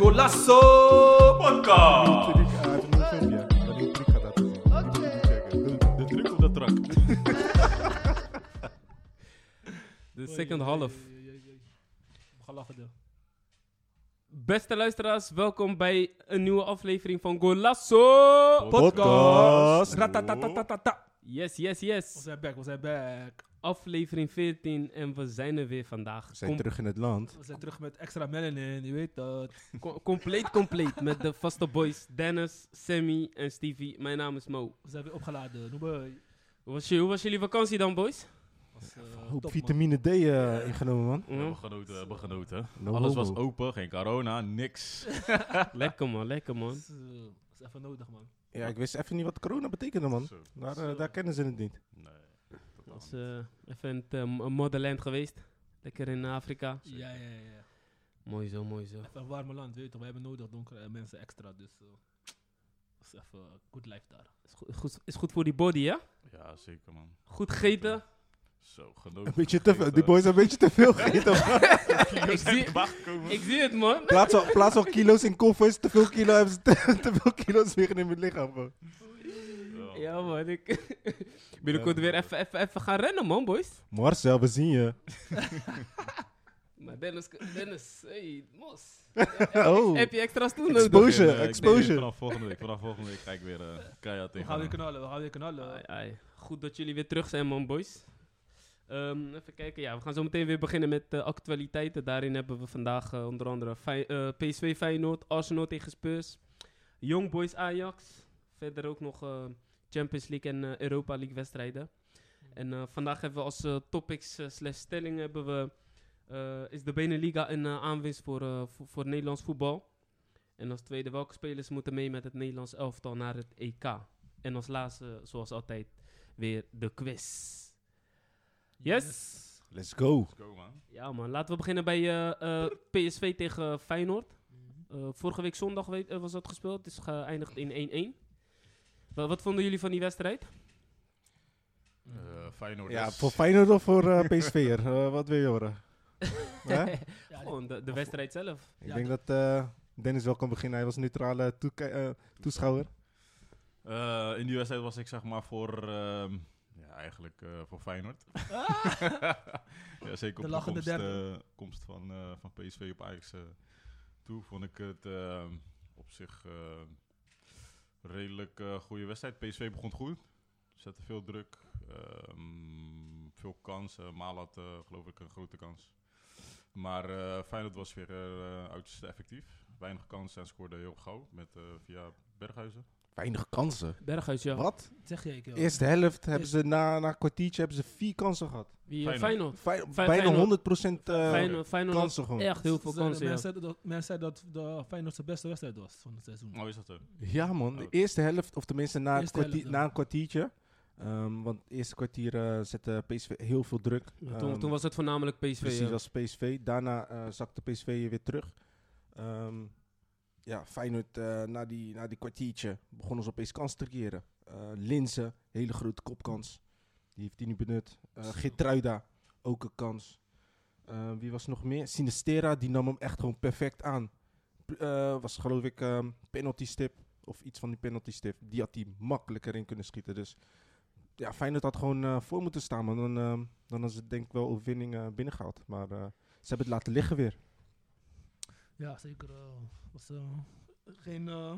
Golasso podcast! Hij heeft een nieuw filmpje. Een nieuwe truc gaat uitkomen. Die moet je niet checken. De- De truc of de trak? De second half. Ga lachen, deel. Beste luisteraars, welkom bij een nieuwe aflevering van Golasso! Podcast. Ratatatatata. Yes, yes, We yes. zijn back, we zijn back. Aflevering 14 en we zijn er weer vandaag. We zijn Com- terug in het land. We zijn terug met extra melanin, je weet dat. co- compleet, compleet met de vaste boys Dennis, Sammy en Stevie. Mijn naam is Mo. We zijn weer opgeladen, noem maar. eh, Hoe was, je, hoe was jullie vakantie dan, boys? Was, eh, Hoop top, man. vitamine D eh, ingenomen, man. Hm? We hebben genoten, we hebben genoten. No Alles was homo. open, geen corona, niks. Lekker man, lekker man. Dat is, eh, dat is even nodig, man. Ja, ik wist even niet wat corona betekende, man. Zo. Daar, eh, Zo. daar kennen ze het niet. Nee, totaal Was niet. eh, even in het eh, m- motherland geweest. Lekker in Afrika. Ja, ja, ja. Mooi zo, mooi zo. Even een warme land, weet je toch. We hebben nodig donkere eh, mensen extra, dus... eh, dat is even eh, good life daar. Is goed, goed- is goed voor die body, ja? eh, Ja, zeker man. Goed gegeten. Zo, genoten. Een beetje te veel. Die gegeten. boys een beetje te veel gegeten. man. ik, zie, Wegkomen. ik zie het, man. Plaats al, plaats al kilo's in koffers. Te veel kilo hebben ze te, te veel kilo's weer in hun lichaam, bro. Ja, man. Ik binnenkort weer even, even, even gaan rennen, man, boys. Marcel, we zien je. Maar Dennis, Dennis, hey, mos. Oh, Heb je extra's toen nodig? Exposure. Ik denk, exposure. Vanaf volgende week, vanaf volgende week ga ik weer eh keihard We tegen. gaan weer knallen, we gaan weer knallen. Ai, ai. Goed dat jullie weer terug zijn, man, boys. Ehm, even kijken, ja, we gaan zo meteen weer beginnen met de actualiteiten. Daarin hebben we vandaag eh, onder andere Fey- eh, PSV Feyenoord, Arsenal tegen Spurs, Young Boys Ajax. Verder ook nog eh, Champions League en eh, Europa League wedstrijden. En eh, vandaag hebben we als eh, topics eh, slash stelling hebben we, eh, is de Beneliga een eh, aanwinst voor, eh, voor, voor Nederlands voetbal? En als tweede, welke spelers moeten mee met het Nederlands elftal naar het EK? En als laatste, zoals altijd, weer de quiz. Yes. let's go. Let's go, man. Ja man, laten we beginnen bij eh, eh, PSV tegen Feyenoord. Mhm. Eh, vorige week zondag weet- eh, was dat gespeeld, het is geëindigd in 1-1. Wa- wat vonden jullie van die wedstrijd? Mhm. Eh Feyenoord Ja, is- voor Feyenoord of voor eh, PSV'er? Eh, wat wil je horen? Hè? Ja, Gewoon de, de wedstrijd zelf. Ik denk dat eh, Dennis wel kan beginnen. Hij was neutrale toeki- eh, toeschouwer. Eh, in die wedstrijd was ik zeg maar voor, ehm, ja, eigenlijk eh, voor Feyenoord. ja, zeker Ah! De op de, lachende komst, derde. eh, komst van, eh, van PSV op Ajax eh, toe vond ik het ehm, op zich eh, redelijk eh, goede wedstrijd. PSV begon goed, zette veel druk, ehm, veel kansen. Maal had eh, geloof ik een grote kans. Maar eh Feyenoord was weer eh, uiterst effectief. Weinig kansen en scoorde heel gauw met, eh, via Berghuizen. Weinig kansen. Berghuis, ja. Wat? Dat zeg je, ik, joh. Eerste helft hebben ze na, na een kwartiertje hebben ze vier kansen gehad. Wie, eh, Feyenoord. Feyenoord. Fijn- Fijn- bijna Feyenoord. 100% eh, Feyenoord, Feyenoord had kansen gewoon. echt heel veel Ze zeiden- kansen, ja. men zei dat- Men zei dat de Feyenoord zijn beste wedstrijd was van het seizoen. Oh, is dat zo? Ja man, de eerste helft, of tenminste na, een, Eerste helft, kwartier, ja. na een kwartiertje. Ehm, want het eerste kwartier eh, zette PSV heel veel druk. Ja, Toen, Ehm, toen was het voornamelijk PSV. Precies ja. als PSV. Daarna eh, zakte PSV weer terug. Ehm, ja, Feyenoord eh, na, die, na die kwartiertje begonnen ze opeens kans te creëren. Eh Linzen, hele grote kopkans. Die heeft hij nu benut. Eh Gitruida, ook een kans. Eh, wie was nog meer? Sinistera, die nam hem echt gewoon perfect aan. P- eh, was geloof ik ehm penalty stip of iets van die penalty stip. Die had hij makkelijker in kunnen schieten. Dus ja, Feyenoord had gewoon eh, voor moeten staan. Maar dan, ehm dan hadden ze denk ik wel overwinning eh, binnengehaald. Maar eh, ze hebben het laten liggen weer. Ja, zeker. eh, was, eh, geen, eh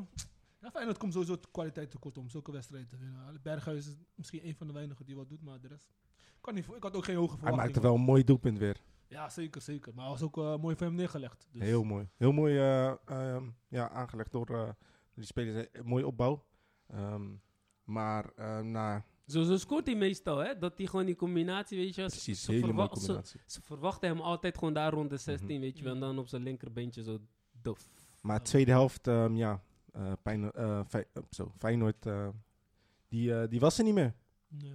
ja, Feyenoord komt sowieso te- kwaliteit tekort om zulke wedstrijden te winnen. Berghuis is misschien een van de weinigen die wat doet, maar de rest... Kan niet, voor- ik had ook geen hoge Hij verwachtingen. maakte wel een mooi doelpunt weer. Ja, zeker, zeker. Maar hij was ook eh, mooi voor hem neergelegd. Dus Heel mooi. Heel mooi eh, ehm, ja, aangelegd door eh, die spelers. Eh, Mooie opbouw. Ehm, maar eh, na Zo, zo scoort hij meestal, hè? Dat hij gewoon die combinatie, weet je wel, ze- precies ze hele mooie verwa- ze- combinatie. Ze verwachten hem altijd gewoon daar rond de 16, Mhm. weet je wel. En dan op zijn linkerbeentje zo dof. Maar tweede helft, ehm, ja, eh, Pijn- eh, Fey- eh, zo, Feyenoord, eh, die, eh, die was er niet meer. nee,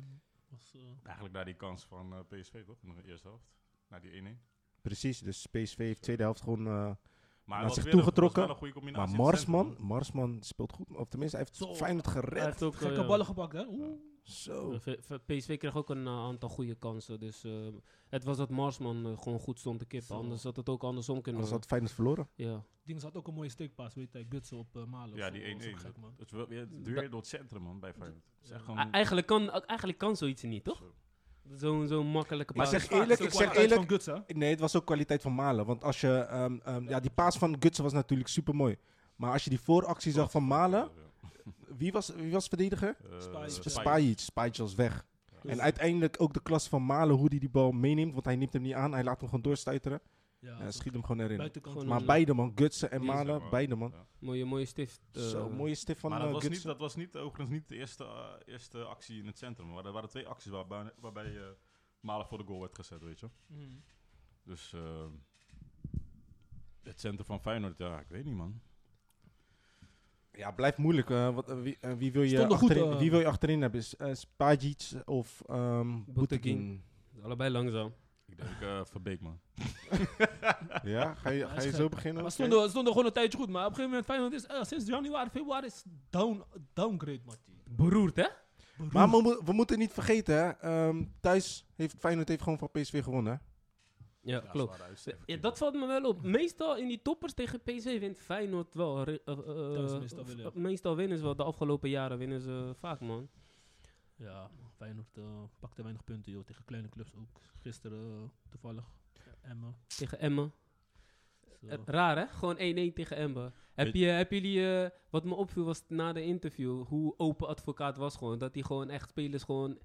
was, eh, Eigenlijk naar die kans van eh, PSV, toch? In de eerste helft. Naar die 1-1. Precies, dus PSV heeft tweede helft gewoon... eh, Maar Naar het was zich weer een- toegetrokken, was wel een goede combinatie in maar het centrum, Marsman, Marsman speelt goed. Of tenminste, hij heeft Zo. Feyenoord Hij gered. heeft ook, eh, Gekke ja. ballen gepakt, hè? Oeh. Zo. Eh, v- v- PSV kreeg ook een eh, aantal goede kansen. Dus eh, het was dat Marsman eh, gewoon goed stond te kippen. Zo. Anders had het ook andersom kunnen. Anders had Feyenoord verloren. Ja. Ding had ook een mooie steekpaas, weet je, Gutsen op eh, Malen. of Ja, zo. die Dat was 1-1. ook Gek, man. Het is wel weer het Da- duur door het centrum, man, bij Feyenoord. Het is echt gewoon- E- Eigenlijk, kan, eigenlijk kan zoiets niet, toch? Zo. Zo'n zo'n makkelijke Maar paas. zeg Ah, eerlijk, dat ik is ook zeg kwaliteit eerlijk. Van Gutsen, hè? Nee, het was ook kwaliteit van Malen. Want als je. ehm, ehm, ja, die paas van Gutsen was natuurlijk super mooi. Maar als je die vooractie zag van Malen. Wie was, wie was verdediger? Eh, Spajic. Spajic. Spajic. Spajic was weg. Dus- Ja. En uiteindelijk ook de klas van Malen, hoe hij die bal meeneemt. Want hij neemt hem niet aan, hij laat hem gewoon doorstuiteren. Ja, En hij schiet hem gewoon erin. buitenkant. Mm. Gewoon Maar een- beide man, Gutsen en Die is er, Malen, man. beide man. Ja. Mooie, mooie stift. eh, Zo, mooie stift van maar dat eh, was, niet, Gutsen. dat was niet, overigens niet de eerste, eh, eerste actie in het centrum. Maar er waren twee acties waarbij, waarbij eh, Malen voor de goal werd gezet, weet je. Mm. Dus eh, het centrum van Feyenoord, ja, ik weet niet, man. Ja, blijft moeilijk. eh, wat, eh, wie, eh, wie, wil je Stonden goed, achterin, eh. wie wil je achterin hebben? Is, eh, Spajic of ehm Boutekin? Boutekin. Allebei langzaam. Ik denk eh Verbeek, man. Ja, ga je, Hij ga is je zo gek. beginnen? Maar Oké. stonden, stonden gewoon een tijdje goed, maar op een gegeven moment Feyenoord is eh, sinds januari, februari is down, downgrade, Martin. Beroerd, hè? Maar we, mo- we moeten niet vergeten, hè. ehm, thuis heeft Feyenoord heeft gewoon van PSV gewonnen. hè. Ja, Ja, klopt. zware uitsteker. Ja, dat valt me wel op. Meestal in die toppers tegen PSV wint Feyenoord wel. re- eh, eh, Thuis meestal winnen. eh, meestal winnen ze wel. De afgelopen jaren winnen ze vaak, man. Ja, Feyenoord eh, pakte weinig punten, joh, tegen kleine clubs ook. Gisteren eh, toevallig, Emmen. dus, Tegen Emmen. Zo. Eh, Raar, hè? Gewoon 1-1 tegen Emmen. Heb, Weet- je, heb jullie... eh, wat me opviel was na de interview... hoe open advocaat was gewoon. Dat hij gewoon echt spelers gewoon...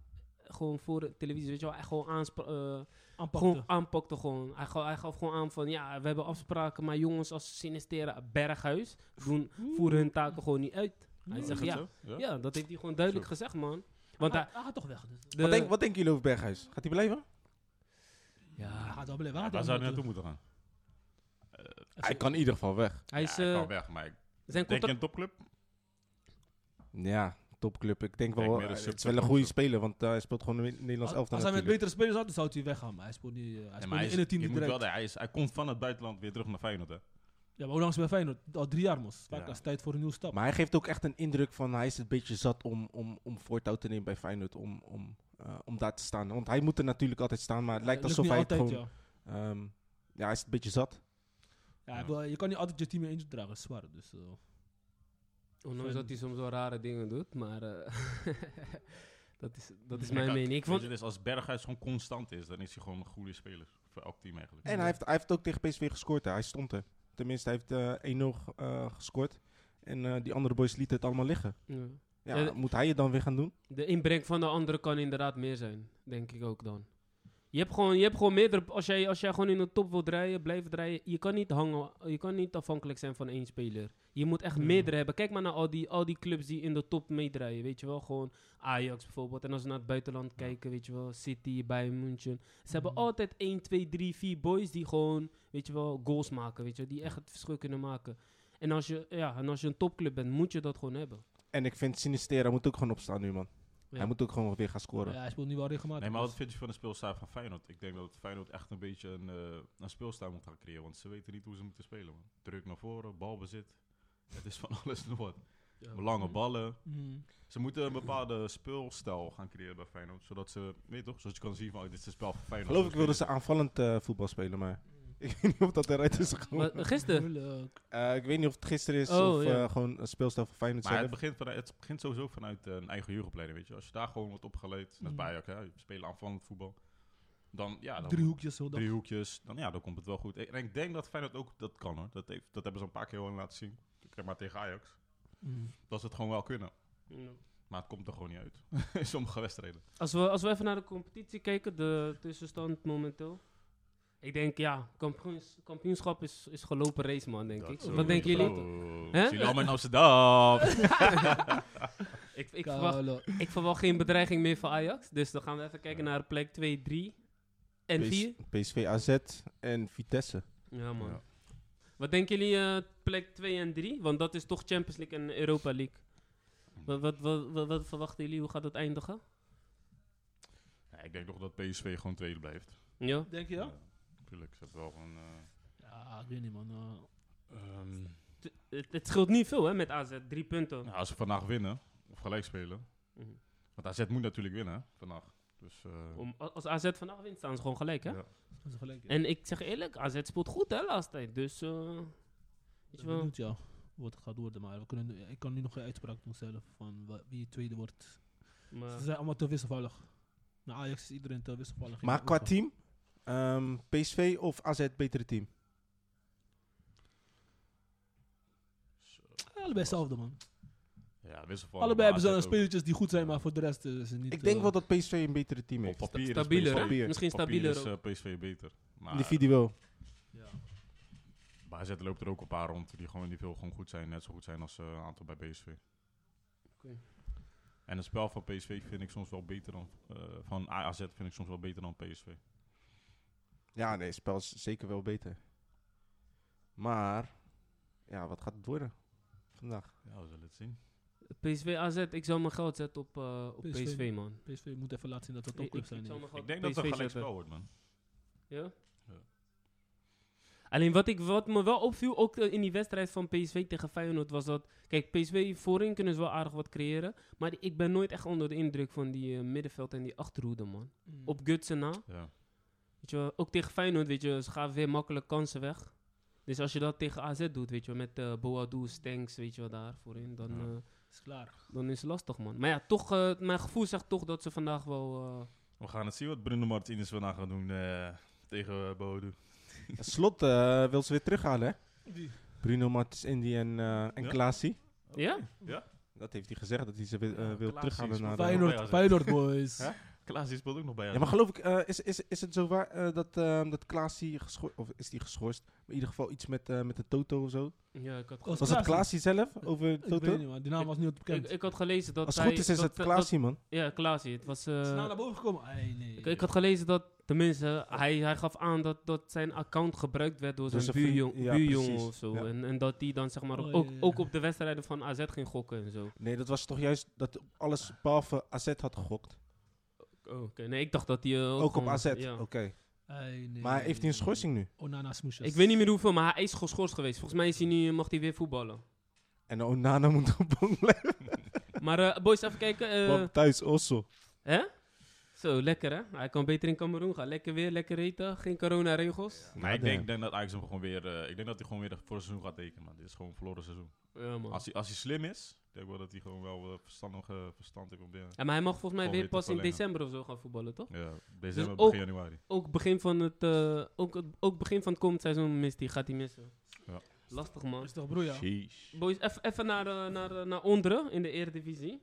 Gewoon voor de televisie, weet je wel, echt gewoon, aanspra- eh, Aanpakte. gewoon aanpakte gewoon. Hij, gaf, hij gaf gewoon aan van, ja, we hebben afspraken, maar jongens als ze sinisteren, berghuis, doen, Hmm. voeren hun taken gewoon niet uit. Hij Is zegt, dat ja, zo? Ja? Ja, dat heeft hij gewoon duidelijk gezegd, man. Want hij, hij, hij gaat toch weg. Dus. de, Wat, denk, wat denken jullie over Berghuis? Gaat hij blijven? Hij ja, gaat wel blijven. Ja, hij Waar gaat zou wel hij naartoe moeten gaan? Hij kan in ieder geval weg. hij is, ja, hij eh, kan weg, maar ik zijn denk je contract... een topclub? Ja, topclub. Ik denk wel, Kijk, meer eh, een het is subtop wel een of goede zo. speler, want eh, hij speelt gewoon in het Nederlands Als, elftal als hij met natuurlijk. betere spelers had, dan zou hij weggaan. Maar hij speelt niet, eh, hij Nee, speelt maar hij niet is- in het team je niet moet direct. wel- hij is- Hij komt van het buitenland weer terug naar Feyenoord, hè? Ja, maar hoe lang is hij bij Feyenoord? Al drie jaar, mos. Vaak Ja. is het tijd voor een nieuwe stap. Maar hij geeft ook echt een indruk van hij is een beetje zat om, om, om voortouw te nemen bij Feyenoord. Om, om, eh, om daar te staan. Want hij moet er natuurlijk altijd staan, maar het lijkt Eh, alsof niet hij het altijd, gewoon. ja. ehm, ja, hij is een beetje zat. Ja, hij Ja. wil- je kan niet altijd je team in eentje dragen, dat is zwaar. Dus, eh, Ondanks dat hij soms wel rare dingen doet, maar... eh, dat is, dat is Kijk, mijn kijk, mening. Ik weet vond, je, dus als Berghuis gewoon constant is, dan is hij gewoon een goede speler voor elk team eigenlijk. En hij heeft, hij heeft ook tegen PSV gescoord. Hè. Hij stond er. Tenminste, hij heeft eh 1-0 ge- eh, gescoord. En eh, die andere boys lieten het allemaal liggen. ja. Ja, Ja, d- moet hij het dan weer gaan doen? De inbreng van de andere kan inderdaad meer zijn, denk ik ook dan. Je hebt gewoon, je hebt gewoon meerdere... Als jij, als jij gewoon in de top wil draaien, blijven draaien... Je kan niet hangen, je kan niet afhankelijk zijn van één speler. Je moet echt Hmm. meerdere hebben. Kijk maar naar al die, al die clubs die in de top meedraaien, weet je wel. Gewoon Ajax bijvoorbeeld. En als we naar het buitenland kijken, weet je wel. City, Bayern München. Ze hebben Hmm. altijd 1, 2, 3, 4 boys die gewoon, weet je wel, goals maken, weet je wel. Die echt het verschil kunnen maken. En als je, ja, en als je een topclub bent, moet je dat gewoon hebben. En ik vind Sinistera moet ook gewoon opstaan nu, man. Ja. Hij moet ook gewoon weer gaan scoren. ja, hij speelt nu wel regelmatig. Nee, maar dus- wat vind je van de speelstijl van Feyenoord? Ik denk dat Feyenoord echt een beetje een, eh, een speelstijl moet gaan creëren, want ze weten niet hoe ze moeten spelen. Man. Druk naar voren, balbezit. Het is van alles en nog wat. Lange ballen. Mm. Ze moeten een bepaalde speelstijl gaan creëren bij Feyenoord, zodat ze, weet je toch, zodat je kan zien van, oh, dit is het spel van Feyenoord. Geloof ik wilden ze aanvallend eh, voetbal spelen, maar ik weet niet of dat eruit is gekomen. Maar gisteren, Moeilijk. Eh, ik weet niet of het gisteren is Oh, of ja. eh, gewoon een speelstijl van Feyenoord Maar het zelf. begint, vanuit, het begint sowieso vanuit eh, een eigen jeugdopleiding, weet je. Als je daar gewoon wordt opgeleid, net Mm. bij Ajax, hè, je spelen aanvallend voetbal, dan, ja, dan Drie hoekjes zo. dan- drie hoekjes, dan ja, dan komt het wel goed. En ik denk dat Feyenoord ook dat kan hoor. Dat, heeft, dat hebben ze een paar keer wel laten zien. Kijk maar tegen Ajax. Mm. Dat ze het gewoon wel kunnen. Maar het komt er gewoon niet uit. In sommige wedstrijden. als we, als we even naar de competitie kijken, de tussenstand momenteel. Ik denk, ja, kampioens, kampioenschap is, is gelopen race, man, denk ik. Wat denken jullie? Oh, Hè? zien jullie allemaal in Amsterdam. Ik, ik, verwacht, Kalo. ik verwacht geen bedreiging meer van Ajax. Dus dan gaan we even kijken naar plek 2, 3 en PS 4. PSV AZ en Vitesse. Ja, man. Ja. Wat denken jullie eh, plek 2 en 3? Want dat is toch Champions League en Europa League. Wat, wat, wat, wat, wat verwachten jullie? Hoe gaat dat eindigen? Ja, ik denk toch dat PSV gewoon tweede blijft. Ja? Denk je dat? Tuurlijk, dat wel gewoon... eh, Ja, ik weet niet, man. Eh, ehm, t- Het, het scheelt niet veel, hè, met AZ. Drie punten. nou, als ze vandaag winnen, of gelijk spelen, Mhm. Want AZ moet natuurlijk winnen hè, vannacht. Dus, eh, Om, a- als AZ vannacht wint, staan ze gewoon gelijk, hè? ja. Dat is gelijk. En ik zeg eerlijk, AZ speelt goed, hè, laatst tijd. Dus, eh weet je wel. benieuwd, ja, wat het gaat worden. Maar we kunnen, nu- ik kan nu nog geen uitspraak doen zelf van wa- wie tweede wordt. Maar, Ze zijn allemaal te wisselvallig. Na Ajax is iedereen te wisselvallig. Maar qua team, ehm, PSV of AZ betere team? Allebei hetzelfde, man. ja wisselvallig. Allebei hebben Oh, maar ze AZ ook. spelertjes die goed zijn, maar voor de rest eh, is het niet... Ik denk eh, wel dat PSV een betere team Op heeft. papier is Stabieler, PSV hè? Papier. misschien dus Papier stabieler is ook. eh, PSV beter. Maar Individueel. Ja. bij AZ loopt er ook een paar rond die gewoon die veel gewoon goed zijn. Net zo goed zijn als eh, een aantal bij PSV. Oké. En het spel van PSV vind ik soms wel beter dan... eh, van AZ vind ik soms wel beter dan PSV. Ja, nee, het spel is zeker wel beter. Maar, ja, wat gaat het worden vandaag? Ja, we zullen het zien. eh, PSV AZ, ik zou mijn geld zetten op, eh, op PSV. PSV. man. PSV moet even laten zien dat dat Ik, topclubs ik zijn. zou mijn geld Ik denk op dat het een PSV gelijk zetten. spel wordt, man. Ja? Ja. Alleen wat, ik, wat me wel opviel, ook eh, in die wedstrijd van PSV tegen Feyenoord, was dat... Kijk, PSV voorin kunnen ze wel aardig wat creëren. Maar die- ik ben nooit echt onder de indruk van die eh, middenveld en die achterhoede, man. Hm. Mm. Op Gutsen na. Ja. Weet je wel, ook tegen Feyenoord, weet je, ze gaven weer makkelijk kansen weg. Dus als je dat tegen AZ doet, weet je wel, met eh Boadu, Stanks, weet je wel, daar voorin, dan, Ja. eh, Is klaar. dan is het lastig, man. Maar ja, toch, eh, mijn gevoel zegt toch dat ze vandaag wel... eh, We gaan het zien wat Bruno Martinez vandaag gaat doen eh, tegen eh, Bodo. Slot eh, wil ze weer terughalen, hè? Die. Bruno Martens, Indy en, eh en Ja. Klaasie. Ja? Dat heeft hij gezegd, dat hij ze wil- eh, Ja, wil Klaasie terughalen is naar... wel- eh, bij AZ. Feyenoord, Feyenoord boys. Hè? Klaas, die speelt ook nog bij AZ. Ja, maar geloof ik, eh, is, is, is het zo waar eh, dat, ehm dat Klaasie geschorst... Of is die geschorst? Maar in ieder geval iets met, eh, met de Toto of zo. Ja, ik Was had, gelezen, Was het Klaasie? Klaasie zelf over Ik Toto? weet niet, man. Die naam was niet ik, bekend. ik had gelezen dat Als het hij- goed is, is dat, het dat- Klaasie, man. ja, Klaasie. Het was... eh, Snel naar boven gekomen. Ai, nee. ik, ik had gelezen dat, tenminste, hij, hij gaf aan dat, dat zijn account gebruikt werd door Door zijn zijn vriend, buurjong, ja, buurjongen precies, of zo. ja. En, en dat die dan, zeg maar, Oh, ook, ja, ja. ook op de wedstrijden van AZ ging gokken en zo. Nee, dat was toch juist dat alles behalve AZ had gegokt. Oh, Oké, nee, ik dacht dat hij... eh, Ook op Oh, gewoon- AZ, ja. oké. Ai, nee. Maar heeft hij een schorsing nu? Onana smoesjes. Ik weet niet meer hoeveel, maar hij is geschorst geweest. Volgens mij is hij nu, mag hij weer voetballen. En Onana moet op bank blijven. Maar eh, boys, even kijken. eh, want thuis Ossel. hè? Zo, lekker hè? Hij kan beter in Cameroen gaan. Lekker weer, lekker eten. Geen coronaregels. Maar ik Ja, denk, denk dat Ajax hem gewoon weer... eh, ik denk dat hij gewoon weer voor het seizoen gaat tekenen, man. Dit is gewoon een verloren seizoen. Ja, man. Als hij, als hij slim is, denk ik wel dat hij gewoon wel eh, verstandig eh, verstand heeft om binnen. Ja, maar hij mag volgens mij Gewoon weer weer pas in te verlengen. december of zo gaan voetballen, toch? Dus Ja, december, ook- begin januari. Ook begin van het, eh, ook, het- ook begin van het komend seizoen mist hij, gaat hij missen. Ja. Lastig man. Is toch broer, ja? Sheesh. Boys, eff- even naar, eh, naar, eh, naar onderen in de Eredivisie.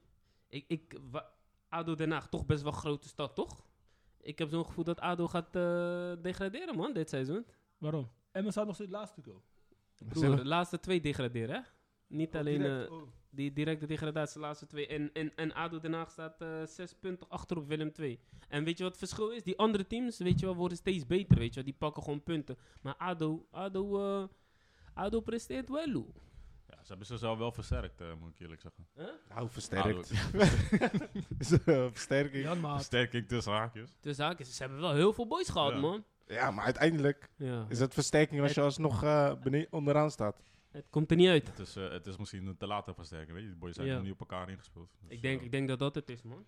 Ik, ik, wa- ADO Den Haag, toch best wel grote stad, toch? Ik heb zo'n gevoel dat ADO gaat eh, degraderen, man, dit seizoen. Waarom? Emmen staat nog steeds laatste, go. Broer, de laatste twee degraderen, hè? Niet alleen Direct, eh, oh. die directe degradatie, de laatste twee. En, en, en ADO Den Haag staat eh, zes punten achter op Willem II. En weet je wat het verschil is? Die andere teams, weet je wel, worden steeds beter, weet je wel. Die pakken gewoon punten. Maar ADO, ADO, eh, ADO presteert wel, Lou. Ja, ze hebben zichzelf wel versterkt, eh, moet ik eerlijk zeggen. Nou, versterkt. Ah, Is, eh, Versterking. Ja. Jan Ah, Maat. versterking tussen haakjes. Dus haakjes, ze hebben wel heel veel boys gehad, Ja. man. maar uiteindelijk Ja. is het versterking als je alsnog eh bene- onderaan staat. Het komt er niet uit. Het is, eh, het is misschien een te late versterking, weet je. Die boys zijn Ja. nog niet op elkaar ingespeeld. Dus, Ik denk, eh, ik denk dat dat het is, man.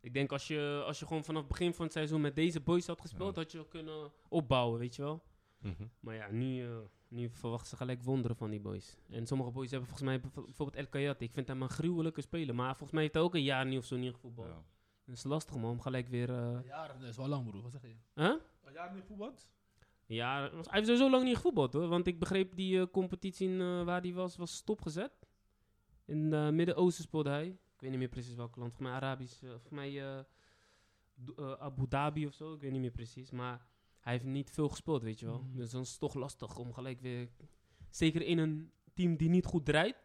Ik denk als je, als je gewoon vanaf het begin van het seizoen met deze boys had gespeeld, Ja. had je kunnen opbouwen, weet je wel. mhm. Maar ja, nu, eh, nu verwachten ze gelijk wonderen van die boys. En sommige boys hebben volgens mij bijv- bijvoorbeeld El Kayati. Ik vind hem een gruwelijke speler. Maar volgens mij heeft hij ook een jaar niet of zo niet gevoetbald. Ja. Dat is lastig man, om gelijk weer... eh Een jaar, dat is wel lang, broer. Wat zeg je? hè? Een jaar niet voetbald? Ja, hij heeft sowieso lang niet gevoetbald hoor. Want ik begreep die eh, competitie in, eh, waar hij was, was stopgezet. In het Midden-Oosten speelde hij. Ik weet niet meer precies welk land. Volgens mij Arabisch. eh, volgens mij eh, Do- eh, Abu Dhabi of zo. Ik weet niet meer precies. Maar hij heeft niet veel gespeeld, weet je wel. Mhm. Dus dan is het toch lastig om gelijk weer... Zeker in een team die niet goed draait.